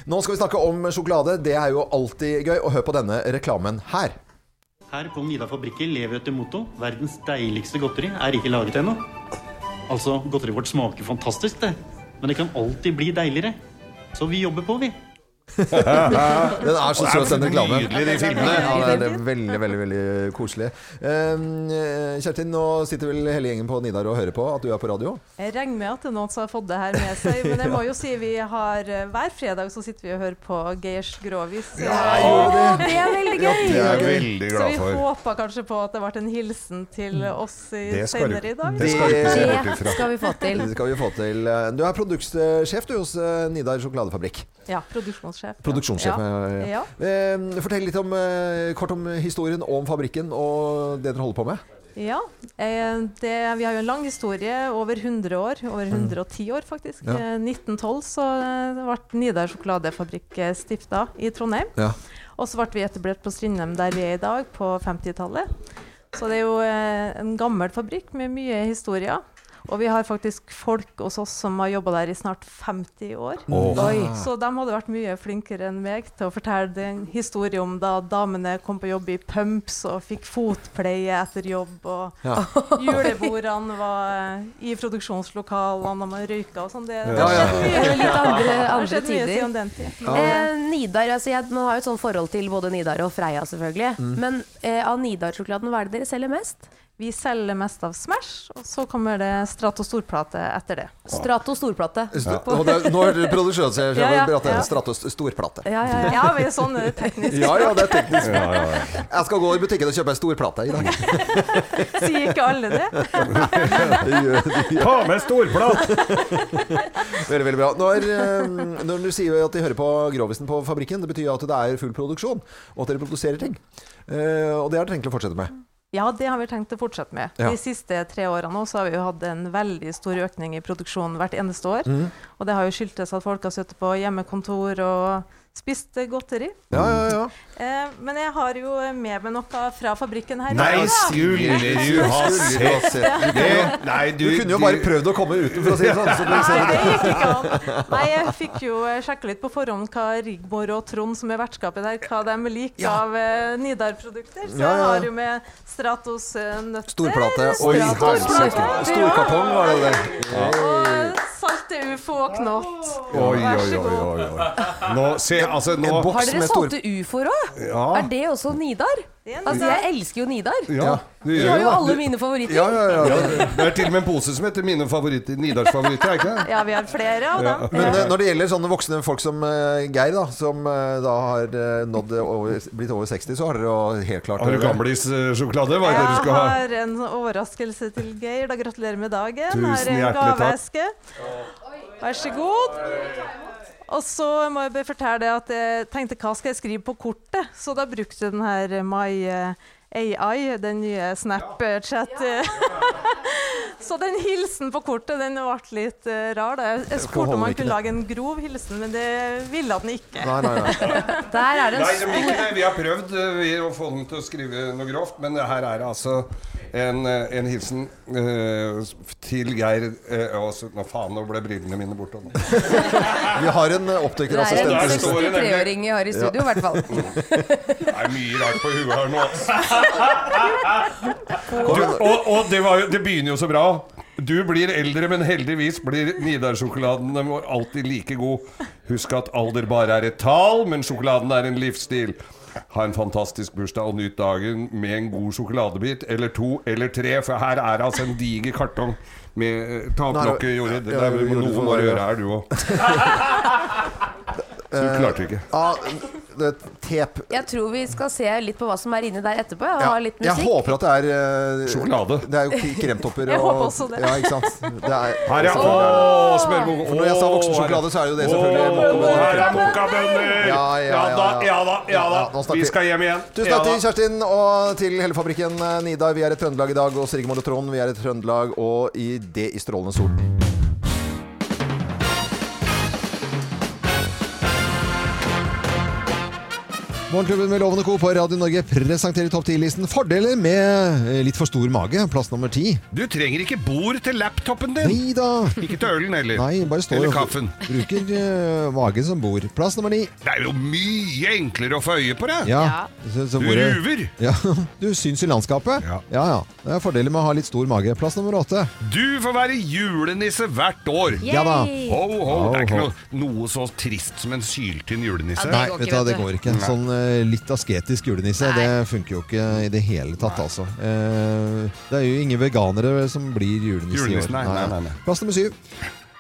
Nå skal vi snakke om sjokolade. Det er jo alltid gøy. Og hør på denne reklamen her.
Her på Nida Fabrikker lever vi etter motto verdens deiligste godteri er ikke laget ennå. Altså, godteriet vårt smaker fantastisk, det. Men det kan alltid bli deiligere. Så vi jobber på, vi.
Den er så søt, den reklamen.
Nydelig, de filmene.
Ja, det er veldig, veldig veldig koselig. Eh, Kjerstin, nå sitter vel hele gjengen på Nidar og hører på at du er på radio.
Jeg regner med at det er noen som har fått det her med seg, men jeg må jo si vi har eh, hver fredag så sitter vi og hører på Geirs Grovis.
jeg gjorde det.
Åh, er veldig gøy!
Ja, det er jeg veldig glad
Så
for.
vi håpa kanskje på at det ble en hilsen til oss i,
Det skal du-
senere i dag.
det skal du ikke se bort
Det
ifra.
skal vi få til.
Det skal vi få til. Du er produktsjef du hos eh, Nidar sjokoladefabrikk.
Ja, produksjonssjef.
Produksjonssjef.
Ja.
ja, ja.
Ja.
Eh, Fortell litt om, eh, kort om historien om fabrikken og det dere holder på med.
Ja, eh, det, vi har jo en lang historie, over 100 år, over 110 år faktisk.
Ja.
Eh, 1912 så eh, ble Nidar sjokoladefabrikk stifta i Trondheim.
Ja.
Og så ble vi etablert på Strindheim der vi er i dag, på 50-tallet. Så det er jo eh, en gammel fabrikk med mye historier. Og vi har faktisk folk hos oss som har jobba der i snart 50 år.
Åh.
Mm.
Oi.
Ah.
Så de hadde vært mye flinkere enn meg til å fortelle en historie om da damene kom på jobb i pumps og fikk fotpleie etter jobb, og
Ja.
julebordene var eh, i produksjonslokalene, og man røyka og sånn. Det, det
Ja,
har
ja, ja.
skjedd
Det
mye.
er litt andre-
Det har
andre
skjedd mye
tider.
siden den tid.
Eh, Nidar, altså jeg, Man har jo et sånn forhold til både Nidar og Freia, selvfølgelig.
Mm.
Men eh, av Nidar-sjokoladen, hva er det dere selger mest?
Vi selger mest av Smash, og så kommer det Strato storplate etter det.
Strato storplate.
St- Og det, er- nå er det produksjonssjef
Ja, ja,
Brattene,
ja.
Stratos storplate.
Ja, ja, ja. ja vi er sånn eh, teknisk.
Ja, ja, det er teknisk.
Ja, ja,
Jeg skal gå i butikken og kjøpe ei storplate i dag.
Sier ikke alle det?
Ta med storplat! veldig, veldig bra. Når, eh, når du sier at de hører på Grovisen på fabrikken, det betyr jo at det er full produksjon, og at dere produserer ting. Eh, og det har dere tenkt å fortsette med.
Ja, det har vi tenkt å fortsette med.
Ja.
De siste tre årene nå så har vi jo hatt en veldig stor økning i produksjonen hvert eneste år.
Mm.
Mhm.
Og det har jo skyldtes at folk har sittet på hjemmekontor og spist eh, godteri.
Ja, ja, ja.
Eh, men jeg har jo med meg noe fra fabrikken her.
Nei,
Ja.
skulle du ha
Skulle du ha
sett
sett
det? Nei,
Du kunne jo bare prøvd å komme utenfor, for å si det sånn. Så
Nei,
så-
det gikk ikke an. Nei, jeg fikk jo eh, sjekke litt på forhånd hva Rigmor og Trond, som er vertskapet der, hva de liker av eh, Nidar-produkter. Så
Ja,
jeg
ja, ja.
har jo med Stratos eh, nøtter.
Storplate. Oi,
Stratos
helsike.
plate,
Storkartong var det der.
Og salte ufo og knott.
Oi,
Vær
oi,
så
oi, oi, oi. Nå, se, altså, nå
Har dere salte ufoer òg?
Ja.
Er det også Nidar? Altså, jeg elsker jo Nidar.
Ja, du
De
gjør
har
jo
jo
det.
alle mine favoritter.
Ja, ja, ja. Det er til og med en pose som heter Mine favoritter, Nidars favoritter, er ikke det?
Ja, vi har flere av dem.
Men eh, når det gjelder sånne voksne folk som eh, Geir, da, som eh, da har eh, nådd eh, over, blitt over 60, så har dere jo helt klart
Har du Gamlis-sjokolade? Hva er det du
Jeg
skal ha?
har en overraskelse til Geir. Da gratulerer med dagen.
Tusen
Her er en
hjertelig takk.
gaveeske. Vær så god. Og så må jeg bare fortelle det at jeg tenkte hva skal jeg skrive på kortet? Så da brukte jeg den her My eh, AI, den nye Snapchat. så den hilsen på kortet den ble litt eh, rar. Da. Jeg- Jeg
Hvorfor
spurte om
holder
han
ikke
kunne lage en grov hilsen, men det ville han ikke.
Nei, nei, nei.
Der er det
Nei,
en
de liker det. Vi har prøvd eh, vi, å få dem til å skrive noe grovt, men det her er altså en, eh, en hilsen eh, til Geir eh, og så- Nå faen, nå ble brillene mine borte. nå.
Vi har en eh,
Det er en
optikerassistent.
Der står det nemlig.
63-åring jeg har i studio, i hvert fall.
Det er mye rart på huet her nå. Du, og og det, var jo, det begynner jo så bra. Du blir eldre, men heldigvis blir Nidar-sjokoladen vår alltid like god. Husk at alder bare er et tall, men sjokoladen er en livsstil. Ha en fantastisk bursdag og nyt dagen med en god sjokoladebit eller to eller tre, for her er altså en diger kartong med Ta opp
Nei,
lokket, Jorid. Det
ja,
er vel
Jorid
noe
får
må du
være-
gjøre her, du òg. Du klarte ikke.
Eh, Ja, det er tep.
Jeg tror vi skal se litt på hva som er inni der etterpå. Jeg
Ja,
har litt
jeg
musikk.
håper at det er eh,
Sjokolade.
Det er jo k- kremtopper.
Jeg
og-
håper også det.
Ja, ikke sant. Det er,
Her er å, smørbolle.
For når jeg sa voksensjokolade, så er det jo det selvfølgelig mokkabønner.
Her er mokkabønner!
Ja, ja, ja,
da, ja da, ja da.
nå snakker
Vi
vi.
skal hjem igjen.
Tusen
Ja
takk til
da.
Kjerstin og til hele fabrikken eh, Nidar. Vi er i Trøndelag i dag, og Rigmor og Trond, vi er i Trøndelag, og i det i strålende sol. Morgenklubben med Lovende Co. på Radio Norge presenterer topp 10-listen fordeler med eh, litt for stor mage, plass nummer ti.
Du trenger ikke bord til laptopen din.
Nei da.
Ikke til ølen heller.
Nei, bare står
Eller
og
kaffen.
Bruker eh, magen som bord. Plass nummer ni.
Det er jo mye enklere å få øye på det.
Ja. Så- så
Du
ordet-
ruver.
Ja, du syns i landskapet. Ja. ja, Det er fordeler med å ha litt stor mage. Plass nummer åtte.
Du får være julenisse hvert år.
Ja da.
Ho, ho. Det er ikke
Ho, ho.
noe, noe så trist som en syltynn julenisse.
Nei, vet du hva, det går ikke.
Nei.
Sånn eh, litt asketisk julenisse, det funker jo ikke i det hele tatt, altså. Eh, det er jo ingen veganere som blir julenisse i år.
Julenissen, nei, nei, nei, nei.
Plass nummer syv.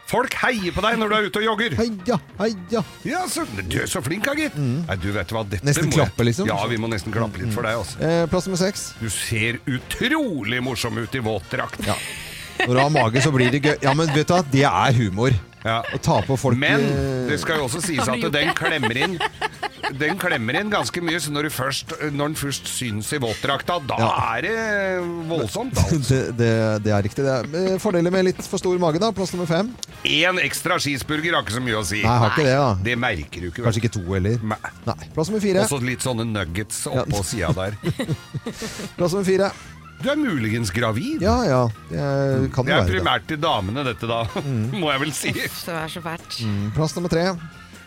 Folk heier på deg når du er ute og jogger.
Heia, heia. Mm.
Ja, så, du er så flink, da, gitt. Nei, du vet hva, dette
Nesten
må
klappe, liksom.
Ja, vi må nesten klappe litt for deg, altså.
Eh, plass nummer seks.
Du ser utrolig morsom ut i våtdrakt.
Når du har mage, så blir det gøy. Ja, men vet du hva, det er humor. Å ta på folk
Men
eh,
det skal jo også sies
Har
at
du gjort
den
det?
klemmer inn Den klemmer inn ganske mye, så når, du først, når den først syns i våtdrakta, da
Ja.
er det voldsomt. da.
det, det, det er riktig. Det er. Eh, Fordeler med litt for stor mage, da. Plass nummer fem.
Én ekstra cheeseburger har ikke så mye å si.
Nei, har ikke det, da.
Det merker du ikke.
Kanskje ikke to heller. Nei. Plass nummer fire.
Og så litt sånne nuggets oppå sida der.
Plass nummer fire.
Du er muligens gravid.
Ja, ja. Det er, kan
Mm. Det
jo
er
være det.
primært til damene, dette da, må jeg vel si.
Det er så fælt.
Mm, Plass nummer tre.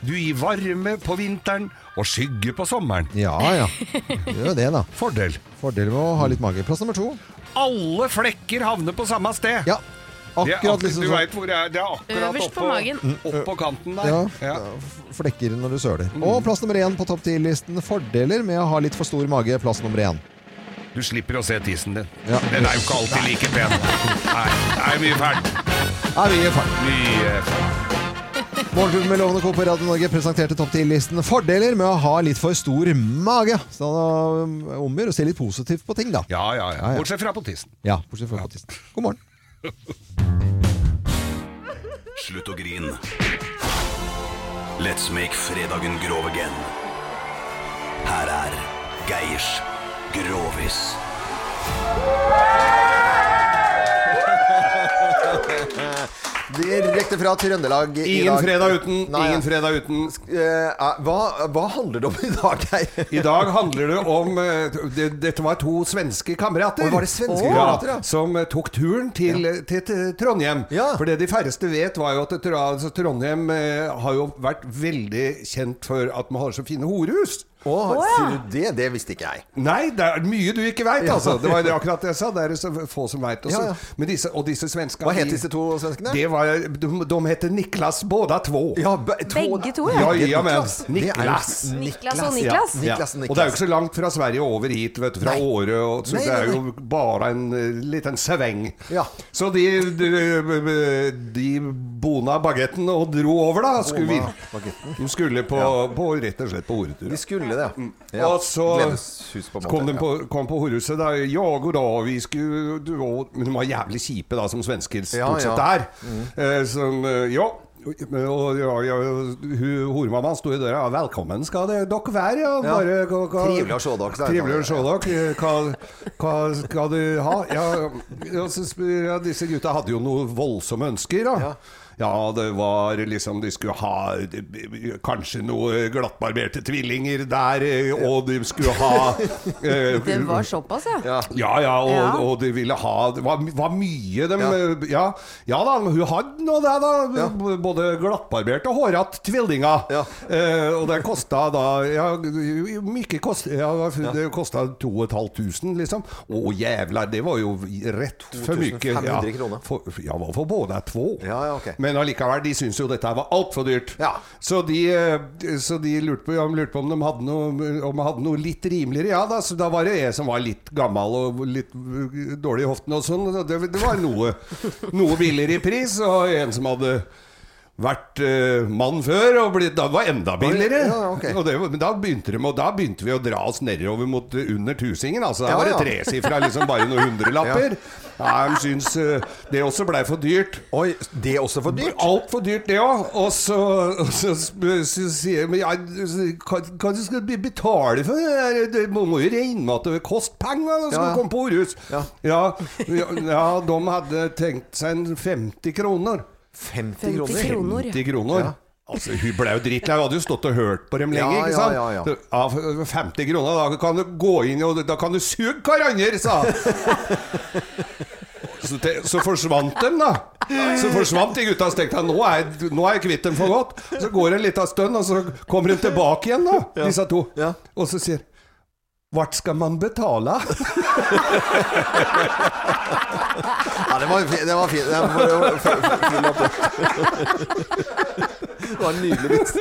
Du gir varme på vinteren og skygge på sommeren.
Ja, ja. Gjør jo det, da.
Fordel.
Fordel med å ha litt mage. Plass nummer to.
Alle flekker havner på samme sted.
Ja,
det er
akkurat
ak- Du
liksom sånn. Mm.
vet hvor det er. Det er akkurat
Øverst på
oppå-
magen.
Oppå kanten der.
Ja, f- Flekker når du
Mm.
søler. Og plass nummer én på topp ti-listen. Fordeler med å ha litt for stor mage. Plass nummer én.
Du slipper å se tissen din.
Ja.
Den er jo ikke alltid like pen. Nei, det er mye fælt.
Ja, vi er ferdig.
Mye fælt.
Morgenklubben med Lovende Co på Radio Norge presenterte topp 10-listen fordeler med å ha litt for stor mage. Så det er omgjør å se litt positivt på ting, da.
Ja, ja, ja.
ja.
Bortsett fra på tissen.
Ja, bortsett fra på tissen. God morgen.
Slutt å grine. Let's make fredagen grov again. Her er Geirs Grovis.
Direkte fra Trøndelag i
Ingen
dag.
fredag uten,
Nei,
ingen
ja.
fredag uten.
Eh, hva, hva handler det om i dag, Geir?
I dag handler det om eh, det, Dette var to svenske kamerater.
Oi, var det svenske
Åh.
kamerater, ja?
Som eh, tok turen til, til, til Trondheim. For det de færreste vet, var jo at Tr- altså, Trondheim eh, har jo vært veldig kjent for at man har så fine horehus.
Å, Å, ja. sier du det? Det visste ikke jeg.
Nei, det er mye du ikke veit,
Ja.
altså. Det var jo akkurat det jeg sa. Det er det så få som veit.
Ja, ja.
Og disse svenskene
Hva het disse to svenskene?
Det var, de, de heter Niklas båda två.
Begge
to, ja.
ja, ja men,
Niklas.
Det
Niklas.
er jo- Niklas og Niklas.
Ja.
Niklas og
Ja.
Niklas.
Og det er jo ikke så langt fra Sverige over hit, vet du, fra Åre. og- Så
Nei,
det er
nei,
jo bare en eh, liten sveng.
Ja.
Så de, de, de bona bagetten og dro over, da. Skulle vi,
Bona bagetten.
de skulle på, på, rett og slett på horetur.
De skulle det, ja.
Og så
Gledeshus på en måte,
kom de
ja.
på, kom på horehuset. Da, ja, god dag, vi skulle du, og, Men de var jævlig kjipe, da, som svensker stort
Ja,
sett
ja.
er. Eh, som, eh, ja. Og ja, ja, hun horemammaen sto i døra. Ja, 'Velkommen skal det, dere være.' Ja,
Ja.
bare, hva- hva-
Trivelig å se dere, sa jeg.
Trivelig å se dere. Eh, Hva, hva skal du ha? Ja, ja, så spør jeg, disse gutta hadde jo noe voldsomme ønsker, da. Ja. det var liksom De skulle ha eh, kanskje noe glattbarberte tvillinger der, eh, og de skulle ha eh,
Det var såpass, ja.
ja, ja, og,
Ja.
og de ville ha Det var, var mye de ja. Ja, da, men hun hadde nå det, da. b- Både glattbarbert og hårete tvillinger. Eh, og det kosta da ja, Mye kost, ja, Det kosta 2500, liksom. Å, jævla, det var jo rett for mye.
2500 kroner.
for, ja, hva for både två.
Ja, ja, ok.
Men allikevel, de syntes jo dette her var altfor dyrt. Så, de, eh, så de lurte på, ja, de lurte på om, de hadde noe, om de hadde noe litt rimeligere. Ja da, så da var det jeg som var litt gammel og litt eh, dårlig i hoften og sånn. og Det, det var noe, noe billigere i pris, og en som hadde vært eh, mann før og blitt, da var enda billigere.
Ja, ja, ok.
og det, var- men da begynte, de, og da begynte vi å dra oss nedover mot eh, under tusingen. Altså, der
Ja,
var det
ja.
tresifra, liksom bare noen hundrelapper. Ja, de syns eh, det også blei for dyrt.
Oi, det er også for dyrt?
Altfor dyrt, det òg. Og så, og så, sp- så sier jeg Men jeg, så- hva, hva du skal du betale for det? der? Det må må jo regne med at det koster penger når du
Ja, ja.
skal komme på Orhus. Ja. Ja, ja, de hadde tenkt seg en 50 kroner.
50 kroner?
50 kroner.
Ja.
Altså, hun ble jo drittlei. Hun hadde jo stått og hørt på dem
Ja,
lenge. ikke
ja,
sant?
ja, ja.
Så, ja, for 50 kroner, da kan du gå inn og da kan du suge hverandre, sa hun. Så, te, så forsvant dem, da. Så forsvant de gutta. Så tenkte jeg nå er, jeg- nå er jeg kvitt dem for godt. Så går det en liten stund, og så kommer de tilbake igjen, da, disse to. Og så sier Vart skal man betale?
Ja, det var fint. Det var, fin. det var, det var, fin- fin opplegg. det var en nydelig vits.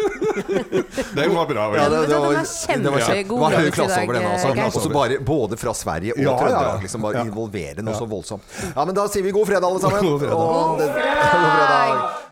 Den var bra. vel?
Ja, det, det
Den
var,
er
det var,
kjempegod
det var høy
vits i
klasse over
dag,
den. Altså.
Geir.
Også bare, både fra Sverige og
Ja, ja, ja.
Trøndelag. Liksom bare involvere noe så voldsomt. Ja, men da sier vi god fredag, alle sammen.
God fredag.
Og det- God fredag.